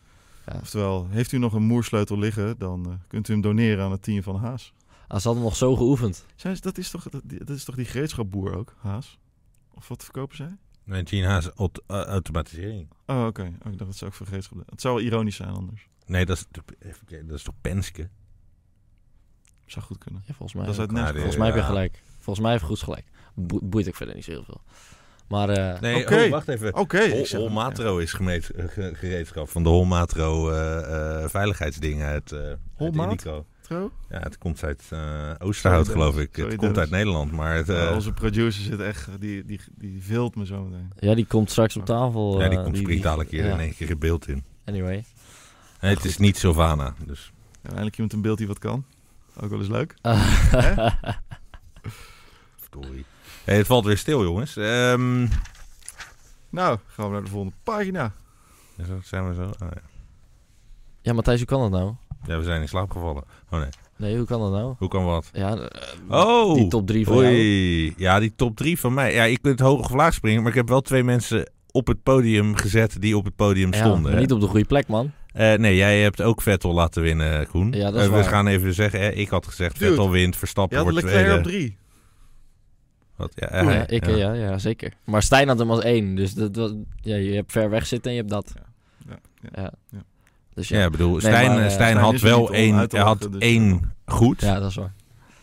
Oftewel, heeft u nog een moersleutel liggen, dan eh, kunt u hem doneren aan het team van Haas.
Ah, ze hadden nog zo geoefend.
Zijn ze, dat, is toch, dat, die- dat is toch die gereedschapboer ook, Haas? Of wat verkopen zij?
Nee, Gene Haas, aut- eh, automatisering.
Oh, oké. Oh, ik dacht dat ze ook voor gereedschap... Het zou wel ironisch zijn anders.
Nee, dat is, even kijken, dat is toch Penske?
Zou goed kunnen.
Ja, volgens mij.
Dat is uit
ook.
Ja,
Nesco.
die-
Volgens mij heb je
eh, Ja.
gelijk. Volgens mij heeft Goeds gelijk. Boe- boeit ook verder niet zo heel veel. Maar eh,
Nee,
Oké.
oh, wacht even.
Oké. ik
Hol,
zeg-
Holmatro is gemeet, eh, ge- gereedschap van de Holmatro eh, eh, veiligheidsdingen uit, eh uit
Holmaat?
Indico.
Tro?
Ja, het komt uit eh, Oosterhout,
Sorry,
geloof
Dennis.
ik.
Sorry,
het komt
Dennis.
uit Nederland, maar het, eh,
Ja, onze producer zit echt... Die, die, die vilt me zo meteen.
ja, die komt straks op tafel.
ja, die
eh,
komt springt alle keer
ja.
in één keer in beeld in.
Anyway.
Nee, het is niet Sylvana, dus
Ja, Eindelijk iemand in beeld die wat kan. Ook wel eens leuk.
verdorie. Hey, het valt weer stil, jongens. Ehm,
Nou, gaan we naar de volgende pagina.
zo, zijn we zo? Ah, ja.
ja, Matthijs, hoe kan dat nou?
ja, we zijn in slaap gevallen. Oh nee,
Nee, hoe kan dat nou?
hoe kan wat?
Ja, eh,
Oh!
die top drie van jou.
Oei. Ja, die top drie van mij. Ja, ik ben het hoge of laag springen, maar ik heb wel twee mensen op het podium gezet die op het podium
Ja,
stonden.
maar
hè.
niet op de goede plek, man.
Eh, nee, jij hebt ook Vettel laten winnen, Koen.
Ja, dat is
Eh, we
waar.
gaan even zeggen, hè, ik had gezegd
Dude.
Vettel wint,
Je
Verstappen
had
wordt
Leclerc
tweede.
op drie.
Wat? Ja,
Ja,
hij,
ik, eh,
ja.
ja. Ja, zeker. Maar Stijn had hem als één. Dus dat, was- ja, je hebt ver weg zitten en je hebt dat.
Ja, ja, ja. Ja.
Dus ja.
Ja,
Ja.
ik bedoel, Stijn,
maar, eh,
Stijn
Stijn
had
is er
wel
niet om
één,
uit te
hij had
lachen, dus-
één goed.
dat is waar.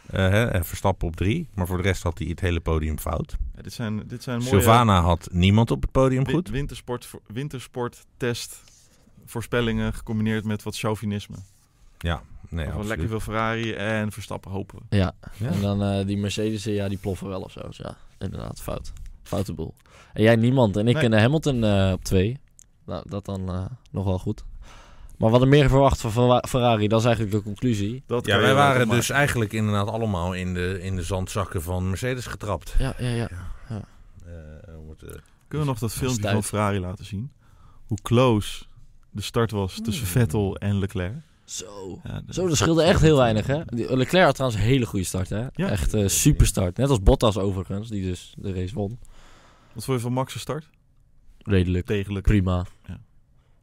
Eh, hè, en Verstappen op drie. Maar voor de rest had hij het hele podium fout.
Ja, dit zijn, dit zijn mooie...
Sylvana had niemand op het podium
wi-
goed.
Wintersport, voor- wintersport, test, voorspellingen gecombineerd met wat chauvinisme.
Nee,
Gewoon
absoluut.
lekker veel Ferrari en Verstappen hopen we.
Ja.
Ja.
En dan eh, die Mercedes, ja, die ploffen wel of zo. Dus ja, inderdaad, fout. Foute boel. En jij niemand. En ik
Nee.
en eh, Hamilton eh, op twee. Nou, dat dan eh, nog wel goed. Maar wat er meer verwacht van Ferra- Ferrari, dat is eigenlijk de conclusie.
Dat
Ja,
kan je
wij
wel
waren
maken.
dus eigenlijk inderdaad allemaal in de, in de zandzakken van Mercedes getrapt.
Ja, ja, ja.
Eh, we moeten-
Kunnen we nog dat filmpje
stuit.
van Ferrari laten zien? Hoe close de start was tussen
Hmm.
Vettel en Leclerc.
Zo.
Ja, dat-
Zo, dat scheelde echt heel weinig, hè? Die- Leclerc had trouwens een hele goede start, hè?
Ja.
Echt eh superstart. Net als Bottas overigens, die dus de race won.
Wat vond je van Max's start?
Redelijk.
Degelijk.
Prima.
Ja.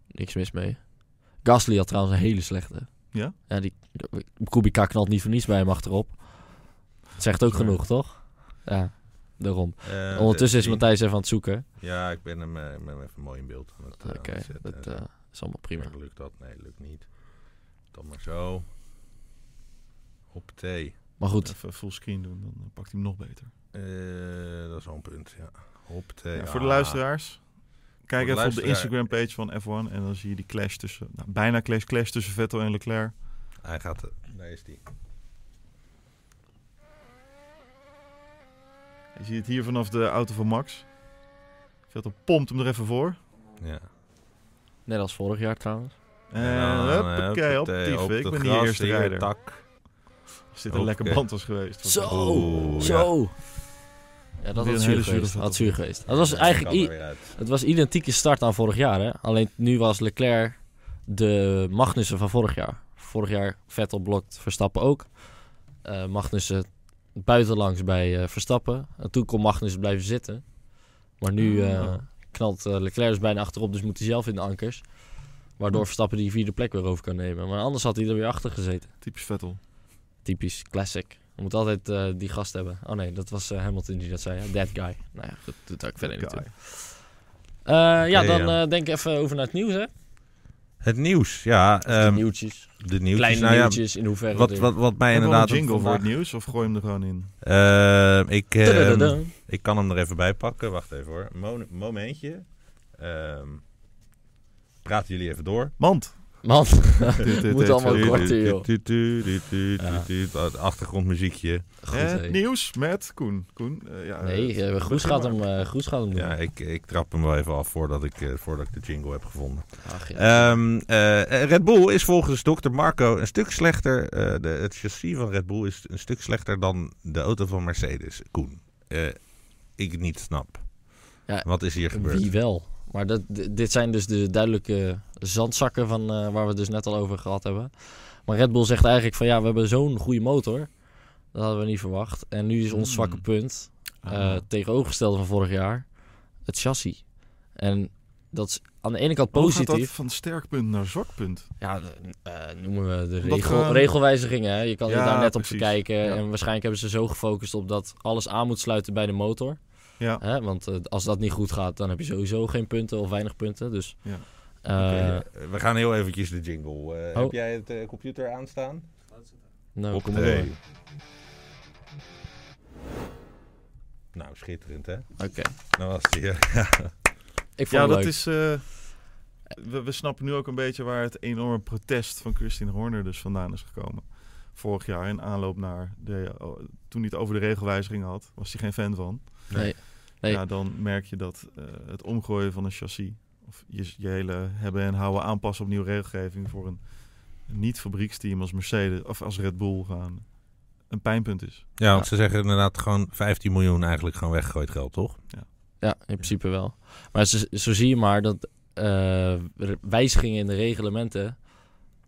Niks mis mee. Gasly had trouwens een hele slechte.
Ja?
Ja, die Kubica knalt niet voor niets bij hem achterop. Dat zegt ook
Sorry.
genoeg, toch? Ja, daarom.
eh,
Ondertussen is
zien.
Matthijs even aan het zoeken.
Ja, ik ben hem, eh, ik ben hem even mooi in beeld aan het, eh,
Oké,
aan het zetten.
dat eh, is allemaal prima.
Maar Lukt dat? Nee, lukt niet. Dan maar zo. Op T. Eh,
Maar goed,
Even full screen doen, dan pakt hij hem nog beter.
dat is wel een punt, ja. Op T.
Ja, voor de
ah.
luisteraars, kijk
Voor de
even op de
luisteraar-
Instagram page van F1 en dan zie je die clash tussen, nou, bijna clash, clash tussen Vettel en Leclerc.
Hij gaat... eh, Daar is die.
Je ziet het hier vanaf de auto van Max. Vettel pompt hem er even voor.
Ja.
net als vorig jaar trouwens.
En
dan, eh,
huppakee, op
huppatee, op
dieven. Ik
het
ben die
gras,
eerste
hier,
rijder.
Tak.
Als dit een lekker
Hoppakee.
band was geweest.
Zo!
Oeh,
zo! Ja,
Weer
dat had
een
zuur
hele zure
geweest.
foto.
Had zuur geweest. Dat was eigenlijk...
Kan
i-
er weer uit.
Het was identieke start aan vorig jaar, hè? Alleen nu was Leclerc de Magnussen van vorig jaar. Vorig jaar Vettel blokt Verstappen ook. Eh, Magnussen buitenlangs bij eh, Verstappen. En toen kon Magnussen blijven zitten. Maar nu eh,
Oh.
knalt eh, Leclerc dus bijna achterop, dus moet hij zelf in de ankers. Waardoor Verstappen die vierde plek weer over kan nemen. Maar anders had hij er weer achter gezeten.
Typisch Vettel.
Typisch, classic. Je moet altijd eh, die gast hebben. Oh nee, dat was eh, Hamilton die dat zei. Hè? That guy. Nou ja, dat doet ook verder niet toe.
Guy.
Eh, ja,
Oké,
dan
ja.
eh, denk ik even over naar het nieuws, hè?
Het nieuws, ja.
de
ehm,
nieuwtjes.
de nieuwtjes.
Kleine
nou ja,
nieuwtjes, in hoeverre...
wat,
er-
wat, wat mij
Hebben we al
inderdaad...
een jingle voor het
vandaag-
nieuws of gooi hem er gewoon in?
Ehm, ik, ehm,
Tudududum.
ik kan hem er even bij pakken. Wacht even hoor. Mo- momentje. Ehm, praten jullie even door.
Mand.
Man,
Moet
allemaal
Du-
korter,
du-
joh.
du- du- du- du-
Ja.
du- du- dat Achtergrondmuziekje.
goed,
Het
hey.
nieuws met Koen. Koen eh, ja,
Nee,
eh,
eh, Groes
begin
gaat,
maar.
hem, eh, Groes gaat hem doen.
Ja, ik, ik trap hem wel even af voordat ik, eh, voordat ik de jingle heb gevonden.
Ach, ja.
Ehm, eh, Red Bull is volgens Dr. Marco een stuk slechter. eh, de, het chassis van Red Bull is een stuk slechter dan de auto van Mercedes. Koen, eh, ik het niet snap.
Ja,
Wat is hier gebeurd?
Wie eh, wel? Maar dat, d- dit zijn dus de duidelijke zandzakken van, eh, waar we het dus net al over gehad hebben. Maar Red Bull zegt eigenlijk van ja, we hebben zo'n goede motor. Dat hadden we niet verwacht. En nu is ons
Hmm.
zwakke punt
Ah.
eh, tegenovergestelde van vorig jaar, het chassis. En dat is aan de ene kant
Hoe gaat dat
positief.
van sterk punt naar zwak punt?
Ja, eh, eh, noemen we de
Omdat
regel,
gewoon-
regelwijzigingen. Hè? Je kan
Ja,
er daar net op
precies.
kijken.
Ja.
En waarschijnlijk hebben ze zo gefocust op dat alles aan moet sluiten bij de motor.
Ja.
Hè? Want eh, als dat niet goed gaat, dan heb je sowieso geen punten of weinig punten. Dus,
Ja.
eh,
Oké, we gaan heel eventjes de jingle. eh,
Oh.
Heb jij het eh, computer aanstaan?
nou,
Op
kom maar
twee.
door.
Nou, schitterend hè?
Oké.
Nou was die. eh,
Ik vond
Ja, dat
het leuk.
is. eh, we, we snappen nu ook een beetje waar het enorme protest van Christine Horner dus vandaan is gekomen. Vorig jaar in aanloop naar. De, oh, toen hij het over de regelwijziging had, was hij geen fan van.
Nee. Nee.
Ja, dan merk je dat eh, het omgooien van een chassis. Of je, je hele hebben en houden aanpassen op nieuwe regelgeving voor een niet-fabrieksteam als Mercedes of als Red Bull gaan. Een pijnpunt is.
Ja, want ze zeggen inderdaad gewoon 15 miljoen eigenlijk gewoon weggegooid geld, toch?
Ja, in principe wel. Maar zo, zo zie je maar dat eh, re- wijzigingen in de reglementen...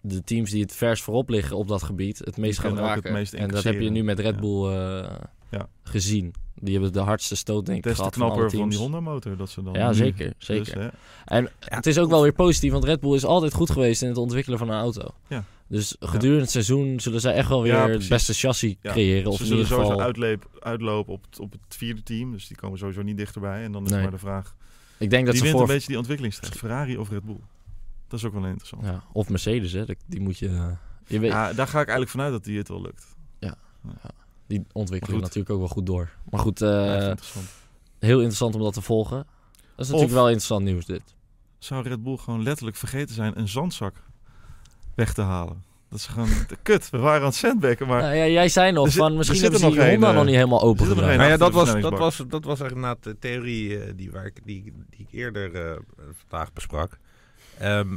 de teams die het vers voorop liggen op dat gebied... het
Die
meest gaan
kunnen ook
raken.
het meest
en dat heb
incasseren.
je nu met Red
Ja.
Bull eh,
Ja.
gezien. Die hebben de hardste stoot denk ik
Des te
gehad van alle
knapper van,
teams.
die Honda-motor dat ze dan.
ja,
nu-
zeker.
Dus,
zeker.
hè,
En het is ook wel weer positief, want Red Bull is altijd goed geweest in het ontwikkelen van een auto.
Ja.
Dus gedurende het seizoen zullen zij echt wel weer
Ja,
het
precies.
beste chassis
Ja.
creëren. Of
Ze
in
zullen
ieder geval...
sowieso uitleep, uitlopen op het, op het vierde team. Dus die komen sowieso niet dichterbij. En dan is
Nee.
maar de vraag.
Ik denk dat
die
ze
wint
voor...
een beetje die ontwikkelingsstrijd. Ferrari of Red Bull? Dat is ook wel interessant. Ja,
Ja, of Mercedes, hè. dat- Die moet je... eh, je weet,
daar ga ik eigenlijk vanuit dat die het wel lukt.
Die ontwikkelen
Maar goed.
natuurlijk ook wel goed door. Maar goed,
Ja, echt
eh,
interessant.
heel interessant om dat te volgen. Dat is natuurlijk
Of-
wel interessant nieuws dit.
Zou Red Bull gewoon letterlijk vergeten zijn een zandzak weg te halen? Dat is gewoon kut. We waren aan het sandbacken, maar
Nou ja, jij zei nog
Er zit-
van
er
misschien
zit
hebben
er
ze die
nog
Honda
een,
nog
eh,
niet helemaal open
er nog
gedaan.
een.
Nou ja, dat
achter de
was, dat,
versnellingsbak.
was, dat was inderdaad de theorie eh, die, waar ik, die, die ik eerder eh, vandaag besprak. Ehm,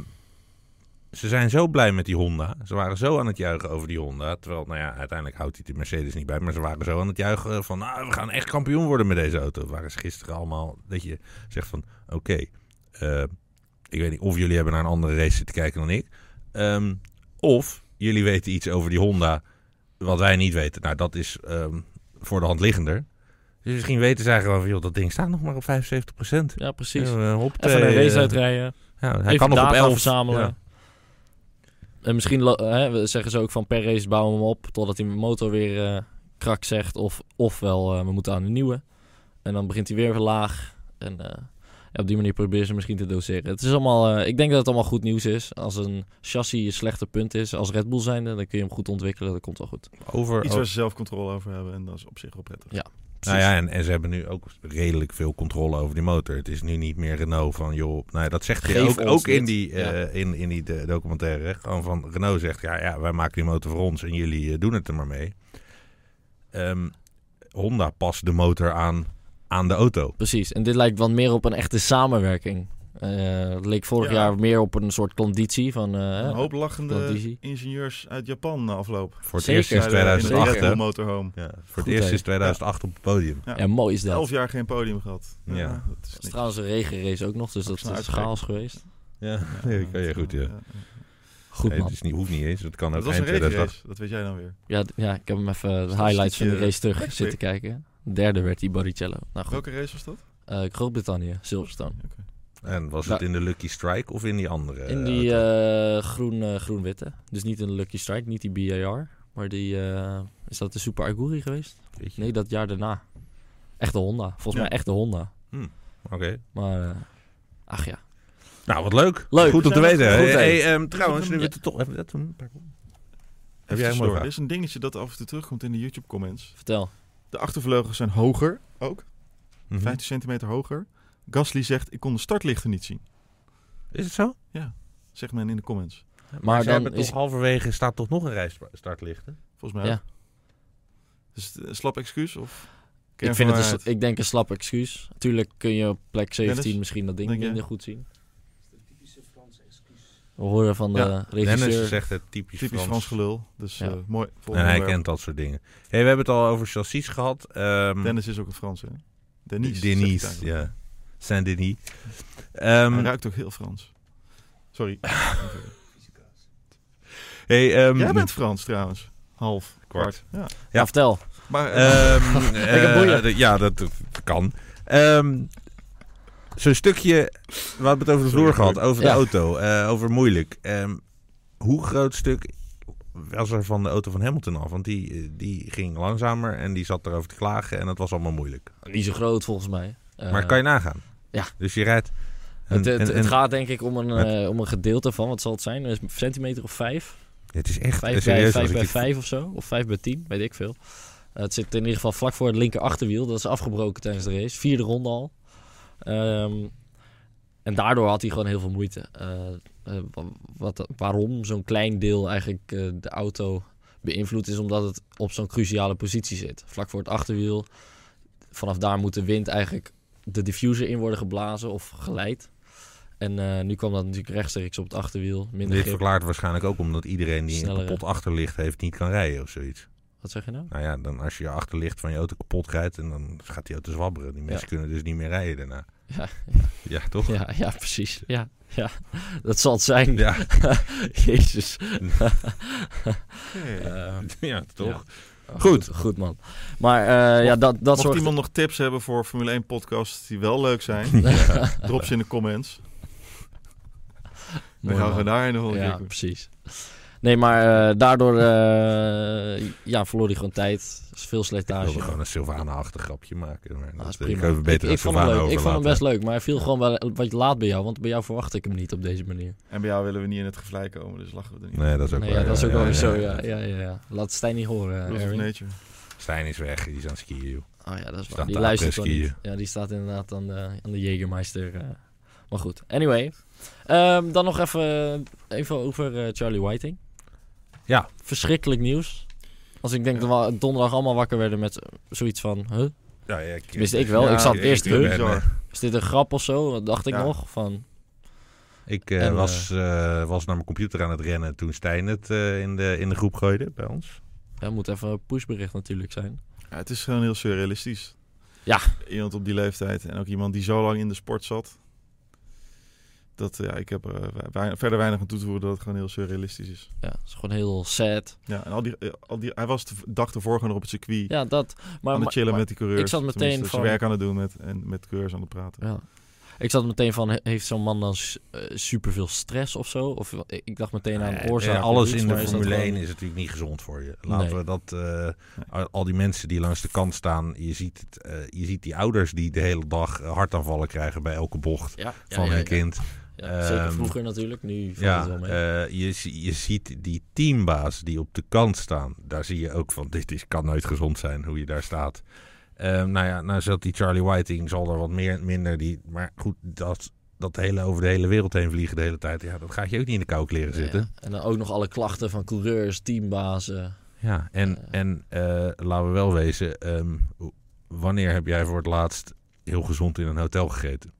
ze zijn zo blij met die Honda. Ze waren zo aan het juichen over die Honda. Terwijl, nou ja, uiteindelijk houdt hij de Mercedes niet bij. Maar ze waren zo aan het juichen van, nou, we gaan echt kampioen worden met deze auto. Het waren ze gisteren allemaal, dat je zegt van, oké, eh, ik weet niet of jullie hebben naar een andere race zitten kijken dan ik. Ehm, of jullie weten iets over die Honda wat wij niet weten. Nou, dat is ehm, voor de hand liggender. Dus misschien weten zij gewoon van, joh, dat ding staat nog maar op 75 procent.
Ja, precies.
op
Even een
eh,
race uitrijden.
Ja, hij
Hij
kan nog op 11.
verzamelen.
Ja.
En misschien lo- hè, we zeggen ze ook van per race bouwen we hem op totdat die motor weer eh, krak zegt. Of, ofwel eh, we moeten aan een nieuwe. En dan begint hij weer weer laag. En eh, ja, op die manier proberen ze misschien te doseren. Het is allemaal, eh, ik denk dat het allemaal goed nieuws is. Als een chassis een slechter punt is als Red Bull zijnde, dan kun je hem goed ontwikkelen. Dat komt wel goed.
Over,
iets waar ze zelf controle over hebben. En dat is op zich wel prettig.
nou ja, en, en ze hebben nu ook redelijk veel controle over die motor. Het is nu niet meer Renault van, joh, nou ja, dat zegt hij
Geef
ook,
ons
ook in,
dit.
die, eh, in, in die eh, documentaire. hè. Gewoon van, Renault zegt, ja, ja, wij maken die motor voor ons en jullie eh, doen het er maar mee. Ehm, Honda past de motor aan, aan de auto.
Precies, en dit lijkt wat meer op een echte samenwerking. Eh, het leek vorig
Ja.
jaar meer op een soort conditie van... eh,
Een hoop
dat
lachende
is-
ingenieurs uit Japan na afloop.
Voor het
Zeker.
eerst sinds
Zeiden in de
2008,
Red
hè.
Bull motorhome.
Ja, voor
Goed,
het eerst
hè?
sinds 2008 op het podium.
Ja.
ja, mooi is dat.
Elf jaar geen podium gehad.
Ja.
dat is
Dat is
niks.
trouwens een regenrace ook nog, dus dat
snel
is
uitkijken.
chaos geweest.
Ja,
Ja,
ja, kan je
dat,
goed,
eh,
ja.
Goed
Nee,
man.
het
dus-
is niet, hoeft niet eens, dat kan
Dat
ook
was een
eind 2008.
race, dat weet jij dan weer.
Ja, d- ja, ik heb hem even de
dat
highlights van die
stukje
race terug
backflip?
zitten kijken. Derde werd die Barrichello. Nou goed,
Welke race was dat?
Eh, Groot-Brittannië, Silverstone.
En was het
Ja.
in de Lucky Strike of in die andere?
Eh,
In
auto?
die eh, groen, eh, groen-witte. dus niet een Lucky Strike, niet die BAR. Maar die, eh, is dat de Super Aguri geweest?
Weet je.
eh, Nee, dat jaar daarna. Echte Honda. Volgens
Ja.
mij echte Honda.
Oké.
Maar, eh, ach ja.
Nou, wat leuk.
Leuk.
Goed om te
Zijn we-
weten.
Goed,
Hey,
hè?
hey, ehm, trouwens, nu we
Ja.
het toch... Hebben we dat toen?
Heb
jij
jij
een
een
mooie
Er
vraag?
is een dingetje dat af en toe terugkomt in de YouTube comments.
Vertel.
De achtervleugels zijn hoger, ook.
Mhm.
15 centimeter hoger. Gasly zegt, ik kon de startlichten niet zien.
Is het zo?
Zegt men in de comments.
Maar,
Maar ze
dan
hebben
is...
toch halverwege staat toch nog een rijstartlichten?
Volgens mij
Ja.
ook. Dus het- een slap excuus of...
Ik, vind het een, ik denk een slap excuus. Tuurlijk kun je op plek 17
Dennis,
misschien dat ding
denk jij?
minder goed zien. We horen van de regisseur.
Dennis zegt het typisch,
Typisch Frans gelul. Dus
Ja.
eh, mooi.
En hij
onderwerp.
kent dat soort dingen. Hey, we hebben het al over chassis gehad. Ehm,
Dennis is ook een Frans, hè? Denise. zegt hij
Denise,
eigenlijk.
ja. Saint-Denis. Ehm,
Hij ruikt ook heel Frans. Sorry.
hey, ehm,
Jij bent Frans trouwens. Half.
Kwart.
Ja.
Ja.
Ja, Nou, vertel.
Maar eh,
Ehm, eh,
Lekker boeien.
d- ja, dat, dat kan. Ehm, Zo'n stukje, we hadden het over de vloer
Sorry,
gehad, over de
Ja.
auto, eh, over moeilijk. Ehm, hoe groot stuk was er van de auto van Hamilton af? Want die, eh, die ging langzamer en die zat erover te klagen en het was allemaal moeilijk.
Niet zo groot volgens mij. Eh,
maar kan je nagaan?
ja.
Dus je rijdt...
het,
een-
het,
een-
het
een-
gaat denk ik om een,
het-
eh, om een gedeelte van, wat zal het zijn? Een centimeter of vijf?
het is echt
Vijf bij,
serieus.
vijf
als
bij
ik dit-
vijf of zo. Of vijf bij tien, weet ik veel. Eh, het zit in ieder geval vlak voor het linker achterwiel. Dat is afgebroken tijdens de race. Vierde ronde al. Ehm, en daardoor had hij gewoon heel veel moeite. Eh, eh, wa- wat, waarom zo'n klein deel eigenlijk eh, de auto beïnvloedt... is omdat het op zo'n cruciale positie zit. Vlak voor het achterwiel. Vanaf daar moet de wind eigenlijk de diffuser in worden geblazen of geleid. En eh, nu kwam dat natuurlijk rechtstreeks op het achterwiel. Minder
Dit
grip.
verklaart waarschijnlijk ook omdat iedereen die een
Snellere.
kapot achterlicht heeft niet kan rijden of zoiets.
Wat zeg je nou?
Nou ja, dan als je je achterlicht van je auto kapot rijdt en dan gaat die auto zwabberen. Die mensen kunnen dus niet meer rijden daarna.
Ja,
Ja, toch?
Ja, ja, precies. Ja, ja. Dat zal het zijn.
Ja,
Jezus.
Hey.
Eh,
ja, toch?
oh,
Goed.
Goed, man. Maar eh, ja, dat, dat
Mocht
soort...
iemand nog tips hebben voor Formule 1 podcasts die wel leuk zijn, drop ze in de comments. Dan
Mooi,
gaan
man.
we daarin nog een
Ja,
keer.
precies. Nee, maar eh, daardoor eh, ja, verloor hij gewoon tijd. Is Veel
Ik
slijtage.
wilde gewoon een Sylvana-achtig grapje maken. Maar
Nou,
dat
is
eh,
prima.
kunnen we beter
ik,
aan
ik vond hem
Sylvana
leuk. ik vond hem best
overlaten.
leuk, maar hij viel gewoon wel wat laat bij jou. Want bij jou verwacht ik hem niet op deze manier.
En bij jou willen we niet in het gevlei komen, dus lachen we er niet.
Nee, dat is ook
Nee,
wel
ja, dat is ook wel weer
ja,
zo.
ja.
Ja, ja, ja, ja. Laat Stijn niet horen,
Rules
eh,
of
Erwin.
nature.
Stijn is weg, die is aan het skiën, joh.
Oh ja, dat is
Staat
waar. Die
daar
luistert
op
gewoon
te
niet. Ja, die staat inderdaad aan de, aan de Jägermeister. eh. Maar goed, anyway. Ehm, dan nog even, even over eh, Charlie Whiting.
Ja.
Verschrikkelijk nieuws. Als ik denk dat we donderdag allemaal wakker werden met zoiets van... Huh?
Ja, ja, ik,
Tenminste, ik wel.
Ja,
ik zat
ik-
eerst...
ik-
huh?
ben- bizar.
Is dit een grap of zo? Dat dacht ik
Ja.
nog. Van,
Ik eh,
En,
was, eh, was naar mijn computer aan het rennen toen Stijn het eh, in, de, in de groep gooide bij ons.
ja, moet even een pushbericht natuurlijk zijn.
Ja, het is gewoon heel surrealistisch.
Ja.
Iemand op die leeftijd en ook iemand die zo lang in de sport zat. Dat, eh, ja, ik heb er eh, wei- verder weinig aan toe te voegen dat het gewoon heel surrealistisch is.
Ja, het is gewoon heel sad.
Ja, en al die, eh, al die, hij was de v- dag ervoor gewoon nog op het circuit
Ja, dat. Maar,
aan
maar-
het chillen
maar-
met die coureurs.
ik zat
Tenminste,
meteen
ze
van-
werk aan het doen met, en met coureurs aan het praten.
Ja. Ik zat meteen van, he- heeft zo'n man dan s- eh, superveel stress of zo? Of eh, ik dacht meteen aan
Eh,
oorzaak.
eh, alles
iets,
in de
maar is dat
Formule
gewoon-
1 is natuurlijk niet gezond voor je. Laten
Nee.
we dat... eh, al die mensen die langs de kant staan. Je ziet, het, eh, je ziet die ouders die de hele dag eh, hartaanvallen krijgen bij elke bocht
Ja, ja,
van
ja,
hun
ja.
kind.
Ja, zeker
Ehm,
vroeger natuurlijk, nu valt
Ja,
het wel mee.
eh, je, zie- je ziet die teambaas die op de kant staan. Daar zie je ook van, dit is, kan nooit gezond zijn hoe je daar staat. Ehm, nou ja, nou zat die Charlie Whiting, zal er wat meer, minder. Die, maar goed, dat, dat hele over de hele wereld heen vliegen de hele tijd. Ja, dat gaat je ook niet in de kou kleren
Ja,
zitten.
En dan ook nog alle klachten van coureurs, teambazen.
Ja, en,
Eh.
en eh, laten we wel wezen, ehm, w- wanneer heb jij voor het laatst heel gezond in een hotel gegeten?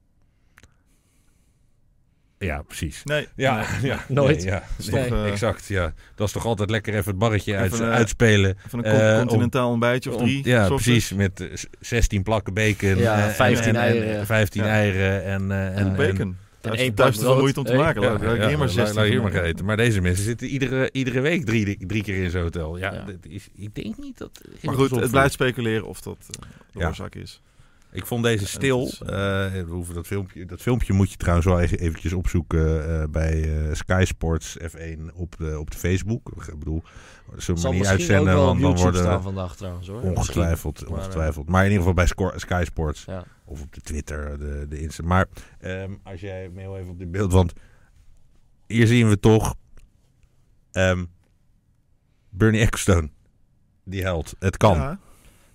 Ja, precies.
Nee,
Ja,
nee.
ja
Nooit.
nee, ja.
is
Nee.
toch, eh,
Exact, ja. Dat is toch altijd lekker even het barretje
Even
uit,
een, eh,
uitspelen.
Van een
Eh, om-
continentaal ontbijtje of
Om-
drie.
ja,
softers.
precies. Met eh, z- 16 plakken bacon.
Ja,
eh, en-
15
en- en-
eieren.
15
Ja.
eieren en... eh, en, en-
Bacon. Dat
één
is
pak
duizend wel
brood.
moeite om te
Hey.
maken.
Ja,
Laat-
ja,
laat ik
ja,
hier maar
laat- laat
16
hier
van
maar
maken.
gegeten. Maar deze mensen zitten iedere, iedere week drie, drie keer in zo'n hotel. Ja,
Ja.
dat is, ik denk niet dat...
Maar goed, het blijft speculeren of dat eh, de
Ja.
oorzaak is.
Ik vond deze
het
stil.
is,
Eh, we hoeven dat, filmpje, dat filmpje moet je trouwens wel even eventjes opzoeken eh, bij eh, Sky Sports F1 op, de op de Facebook. Ik bedoel, zullen we
Zal
maar niet
misschien ook
uitzenden,
wel op
want dan
YouTube
worden...
staan vandaag trouwens hoor.
Ongetwijfeld,
Misschien. Maar,
ongetwijfeld. Maar in ieder geval bij Scor- Sky Sports.
Ja.
Of op de Twitter, de, de Insta. Maar ehm, als jij me heel even op dit beeld... Want hier zien we toch... ehm, Bernie Ecclestone. Die held. Het kan. Ja,
Ja,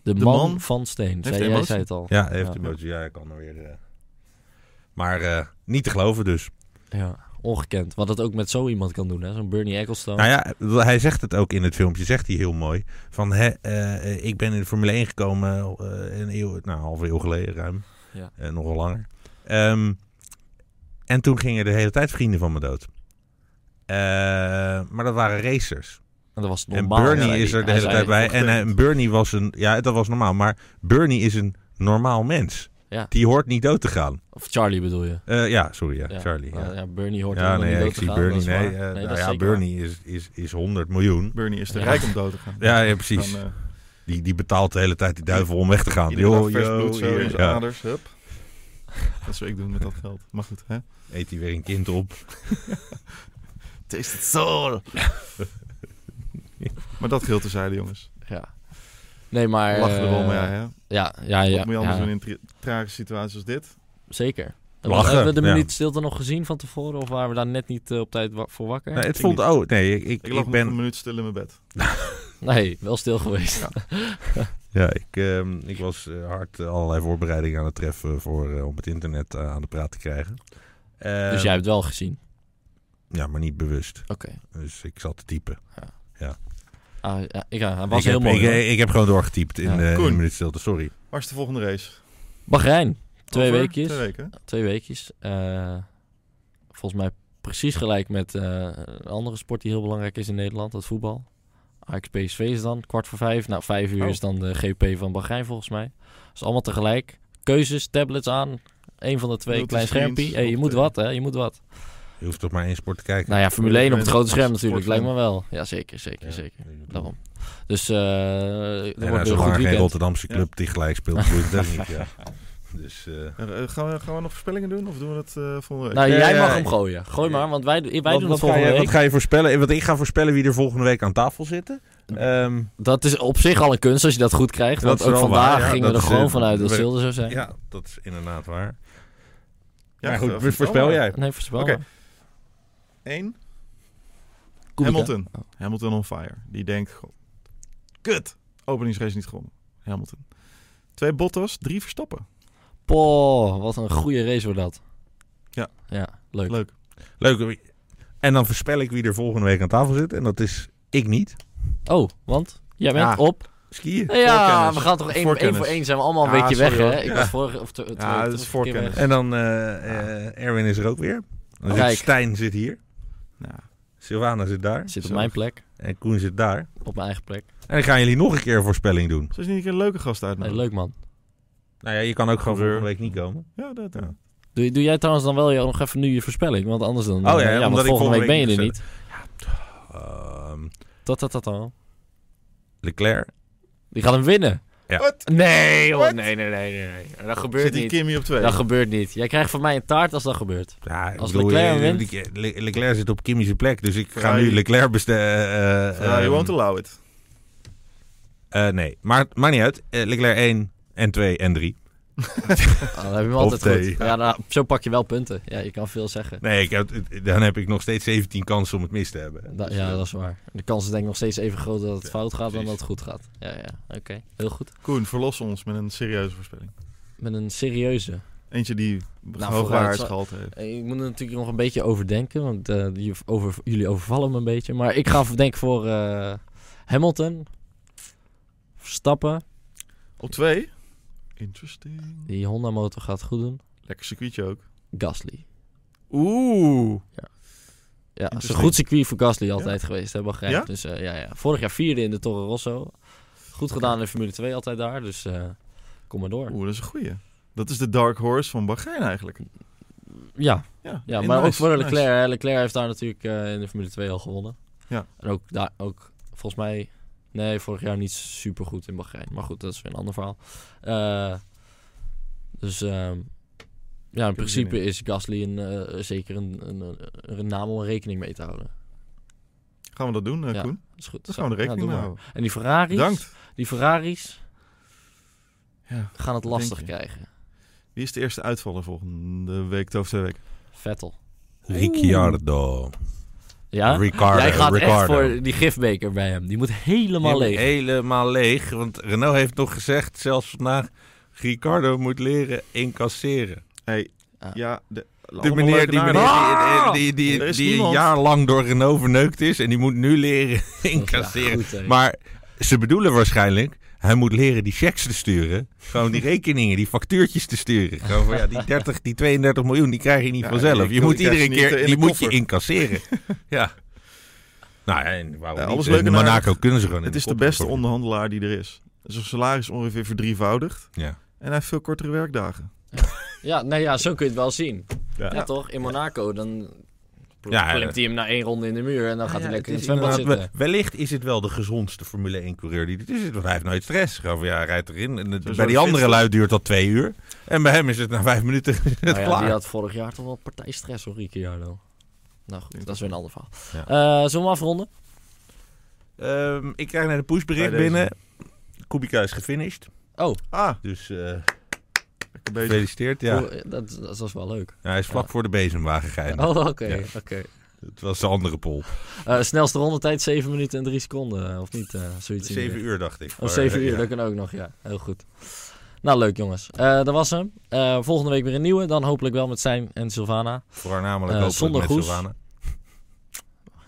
De,
De
man,
man
van Steen,
heeft
zei, jij
emotie.
zei het al.
hij heeft
Ja.
de emotie. Ja, hij kan er weer... eh. Maar eh, niet te geloven dus.
Ja, Ongekend. Wat het ook met zo iemand kan doen, hè? Zo'n Bernie Ecclestone.
Nou ja, hij zegt het ook in het filmpje, zegt hij heel mooi. Van, hè, eh, ik ben in de Formule 1 gekomen eh, een eeuw, nou, een halve eeuw geleden ruim.
Ja.
Eh, nog wel langer. Ehm, en toen gingen de hele tijd vrienden van me dood. Eh, maar dat waren racers.
En dat was
en
normaal.
Bernie
Ja,
is er de
hij
hele
zei-
tijd bij. En
opgetreden.
eh, Bernie was een... Ja, dat was normaal. Maar Bernie is een normaal mens.
Ja.
Die hoort niet dood te gaan.
Of Charlie bedoel je?
Eh, ja, sorry. Ja,
Ja.
Charlie.
Nou,
ja.
ja, Bernie hoort
Ja,
helemaal
nee,
niet dood
ik
te
zie
gaan,
Bernie.
dat is
Nee,
waar.
eh,
Nee,
nou
dat is
ja,
zeker waar.
Bernie is, is, is 100 miljoen.
Bernie is te
Ja.
rijk om dood te gaan.
Ja, ja precies.
Dan, eh,
die, die betaalt de hele tijd die duivel om weg te gaan.
iedere
Yo,
dag vers
yo,
bloed zo
hier,
in zijn
ja.
aders. Hup. Dat zou ik doen met dat geld. Maar goed, hè?
Eet hij weer een kind op.
Taste it soul! maar dat geldt terzijde, jongens.
Ja. Nee, maar...
Lachen er wel
eh,
mee, hè?
Ja, ja, ja.
Wat moet je anders
ja,
doen in een tra- tragische situatie als dit?
Zeker.
Lachen,
Hebben we de
ja.
minuut stilte nog gezien van tevoren? Of waren we daar net niet eh, op tijd wa- voor wakker?
Nee, het
ik
voelt
niet.
oh Nee, ik, ik,
Ik lag
ik
nog
ben.
een minuut stil in mijn bed.
Nee, wel stil geweest.
Ja, ik, ehm, ik was eh, hard eh, allerlei voorbereidingen aan het treffen voor, eh, om het internet eh, aan de praat te krijgen. Eh,
dus jij hebt het wel gezien.
Ja, maar niet bewust.
Oké.
Dus ik zat te typen.
Ah, ja, ik, ja, hij was
ik
heel
heb,
mooi. hoor.
Ik, ik heb gewoon doorgetypt in,
Ja.
eh, in
Koen.
een minuut stilte, sorry.
Waar is de volgende race?
Bahrein. Twee
Over?
weekjes.
Twee weken. hè?
Twee weekjes. Eh, volgens mij precies gelijk met eh, een andere sport die heel belangrijk is in Nederland. Dat voetbal. Ajax PSV is dan kwart voor vijf. Nou, vijf uur
Oh.
is dan de GP van Bahrein volgens mij. Dat is allemaal tegelijk. Keuzes, tablets aan. Eén van de twee, klein
Multiscreens
schermpje. Hey, je
op
moet
de-
wat, hè? Je moet wat.
Je hoeft toch maar één sport te kijken.
Nou ja, Formule 1 op het grote scherm
Sport-
natuurlijk.
sport-
Lijkt me wel. Ja, zeker, zeker,
Ja,
zeker.
ik bedoel-
Daarom. Dus eh dat
En
wordt
nou,
een goed
zolang er geen
weekend.
Rotterdamse club die gelijk speelt, boeit het ook niet. Ja. Dus eh,
Eh, eh, gaan, we, gaan we nog voorspellingen doen? Of doen we dat eh, volgende week?
Nou,
Ja,
jij
ja,
mag
ja.
hem gooien. Gooi maar, want wij, wij
wat,
doen
wat
het
ga
volgende
je, wat
week.
ga je voorspellen? Eh, Want ik ga voorspellen wie er volgende week aan tafel zitten. Ehm,
Dat is op zich al een kunst als je dat goed krijgt.
Dat
Want
is
ook
wel
vandaag
waar, ja.
gingen we
Dat
er
is,
gewoon
eh,
vanuit dat
we-
Zilde zou zijn.
ja, dat is inderdaad waar.
Ja,
maar
eh,
goed, voorspel jij.
Nee, voorspel
Oké.
maar.
Eén.
Kubica.
Hamilton. Hamilton on fire. Die denkt, god, kut. Openingsrace niet gewonnen. Hamilton. Twee Bottas, drie Verstappen.
Poh, wat een goede race wordt dat.
Ja.
Ja, leuk.
Leuk.
Leuk. En dan voorspel ik wie er volgende week aan tafel zit. En dat is ik niet.
Oh, want jij bent
Ja.
op.
Skiën.
Ja,
Voorkennis.
we gaan toch één voor
Voorkennis.
één, voor één zijn we allemaal een
Ja,
beetje
sorry
weg, hè?
hoor.
Ik
Ja.
was vorige... Of te- te-
Ja,
te-
dat is
vorige keer
voorkennis.
weg.
En dan eh, eh, Erwin is er ook weer. Dan zit
Kijk.
Stijn zit hier.
Nou,
Silvana zit daar.
Zit op
Zo.
mijn plek.
En Koen zit daar.
Op mijn eigen plek.
En dan gaan jullie nog een keer een voorspelling doen.
zou je niet een keer een leuke gast
Nee,
uitnodigen?
leuk man.
Nou ja, je kan ook gewoon
Coureur.
volgende week niet komen.
Ja, dat ja.
Ja.
Doe, doe jij trouwens dan wel je- nog even nu je voorspelling? Want anders dan...
Oh ja,
eh,
omdat
want
ik
volgende week ben je er
niet
niet. Dat, dat, dat dan.
Ehm, Leclerc.
Die gaat hem winnen.
Ja.
Wat?
Nee, joh.
Wat?
Nee, nee, nee, nee, nee. Dat
Zit
gebeurt
die
niet.
Kimmy op twee?
Dat gebeurt niet. Jij krijgt van mij een taart als dat gebeurt.
Ja, ik
Als
bedoel,
Leclerc
eh,
wint?
Le- Le- Leclerc zit op Kimmy's plek, dus ik ga
Ja,
nu
je-
Leclerc eh, bestellen.
Ja,
Ehm.
you won't allow it.
ehm, eh, nee, maar maakt niet uit. Eh, Leclerc 1 en 2 en 3.
Ah, dan heb je hem
Of
altijd
thee.
goed. Ja, nou, zo pak je wel punten. Ja, je kan veel zeggen.
Nee, ik heb, dan heb ik nog steeds 17 kansen om het mis te hebben.
Da-
Dus,
ja,
eh,
dat is waar. De kans is denk ik nog steeds even groot dat het
Ja,
fout gaat dan
precies.
dat het goed gaat. Ja, ja. Oké, heel goed.
Koen, verlos ons met een serieuze voorspelling.
Met een serieuze.
Eentje die
Nou, vooruit,
hoog waarheidsgehalte heeft.
Eh, Ik moet er natuurlijk nog een beetje overdenken, want eh, die over, jullie overvallen me een beetje. Maar ik ga denk ik voor eh, Hamilton, Verstappen.
Op twee? Interesting.
Die Honda motor gaat het goed doen.
Lekker circuitje ook.
Gasly.
Oeh.
Ja, het is een
Interesting.
goed circuit voor Gasly altijd geweest, hè, Bahrein.
Ja?
Dus eh, ja, ja. Vorig jaar vierde in de Torre Rosso. Goed gedaan in Formule 2 altijd daar, dus eh, kom maar door.
Oeh, dat is een goeie. Dat is de dark horse van Bahrein eigenlijk.
Ja,
Ja,
ja
eh,
maar ook
nice,
voor
nice.
Leclerc. hè. Leclerc heeft daar natuurlijk eh, in de Formule 2 al gewonnen.
Ja.
En ook, daar, ook volgens mij, nee, vorig jaar niet super goed in Bahrein. Maar goed, dat is weer een ander verhaal. Eh, dus ehm, ja, in
er zin
principe is Gasly een, eh, zeker een, een, een, een naam om rekening mee te houden.
Gaan we dat doen, eh,
Ja.
Koen?
Dat is goed.
Daar
Zo,
gaan we er
ja,
rekening
doe
mee
maar.
houden.
En die Ferraris,
Bedankt.
die Ferraris
Ja.
gaan het
Wat
lastig
denk je?
krijgen.
Wie is de eerste uitvaller volgende week, of twee weken?
Vettel.
Ricciardo.
Ja?
Ricardo.
Jij gaat echt
Ricardo.
voor die gifbeker bij hem. Die moet helemaal leeg.
Helemaal leeg. Want Renault heeft nog gezegd, zelfs vandaag... Ricardo moet leren incasseren.
Hey,
Ah.
ja, de, Ah!
De meneer, die meneer die, die, die,
Er
die,
is
die een
niemand.
jaar lang door Renault verneukt is... en die moet nu leren incasseren. maar ze bedoelen waarschijnlijk... hij moet leren die checks te sturen. Gewoon die rekeningen, die factuurtjes te sturen. Gewoon van, ja, die 30, die 32 miljoen, die krijg je niet
Ja,
vanzelf.
die-
Je
die
moet
krijg je
iedere
niet, eh,
keer,
in
die
de
moet je
koffer.
incasseren. ja. Nou, en waarom
Ja,
niet?
alles leuk
In
en
Monaco
aardig.
kunnen ze gewoon in
Het is de
koffer
beste
stoppen.
onderhandelaar die er is. Zijn salaris ongeveer verdrievoudigd
Ja.
en hij heeft veel kortere werkdagen.
Ja, nou ja, zo kun je het wel zien. Ja,
Ja.
toch? In Monaco, dan
Ja, ja.
klimt hij hem na één ronde in de muur en dan gaat hij
Ah Ja,
lekker in
het
het
is
zwembad
inderdaad-
zitten.
we- Wellicht is het wel de gezondste Formule 1-coureur die dit is. Want hij heeft nooit stress. Gewoon van, ja, hij rijdt erin. En het-
Zo
bij die
zit
andere
het.
lui duurt dat twee uur. En bij hem is het na vijf minuten is het
Nou ja,
klaar.
Die had vorig jaar toch wel partijstress, hoor, Ricciardo. Nou goed, dat is weer een ander verhaal.
Ja.
Eh, zullen we afronden?
Ehm, ik krijg net een pushbericht
Bij deze.
binnen. Kubica is gefinished.
Oh,
Ah,
Dus eh,
lekker bezig.
gefeliciteerd. Ja.
hoe- eh, dat, dat was wel leuk.
Ja, hij is vlak
Ja.
voor de bezemwagen gegaan.
Oh, oké.
Ja.
oké.
Het was de andere pol.
Eh, snelste rondetijd 7 minuten en 3 seconden, eh, of niet? eh, zoiets in die
Zeven uur, dacht ik.
Om
Maar,
7
eh,
uur,
ja.
dat kan ook nog, ja. Heel goed. Nou, leuk jongens. Eh, dat was hem. Eh, volgende week weer een nieuwe. Dan hopelijk wel met Sijn en Sylvana.
Voornamelijk
Eh,
hopelijk
zonder
met
Goes.
Sylvana.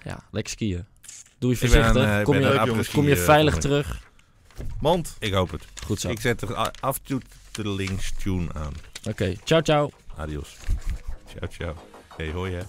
Ja, lekker skiën. Doe je
Ik ben,
voorzichtig.
eh, ik
kom,
ben
je,
een
leuk,
apres-ski,
kom je
eh,
veilig
volgende
terug.
Mand.
week. Ik hoop het.
Goed zo.
Ik zet de a- aftiteling tune aan.
Oké, ciao ciao.
Adios. Ciao, ciao. Hey, hoi hè.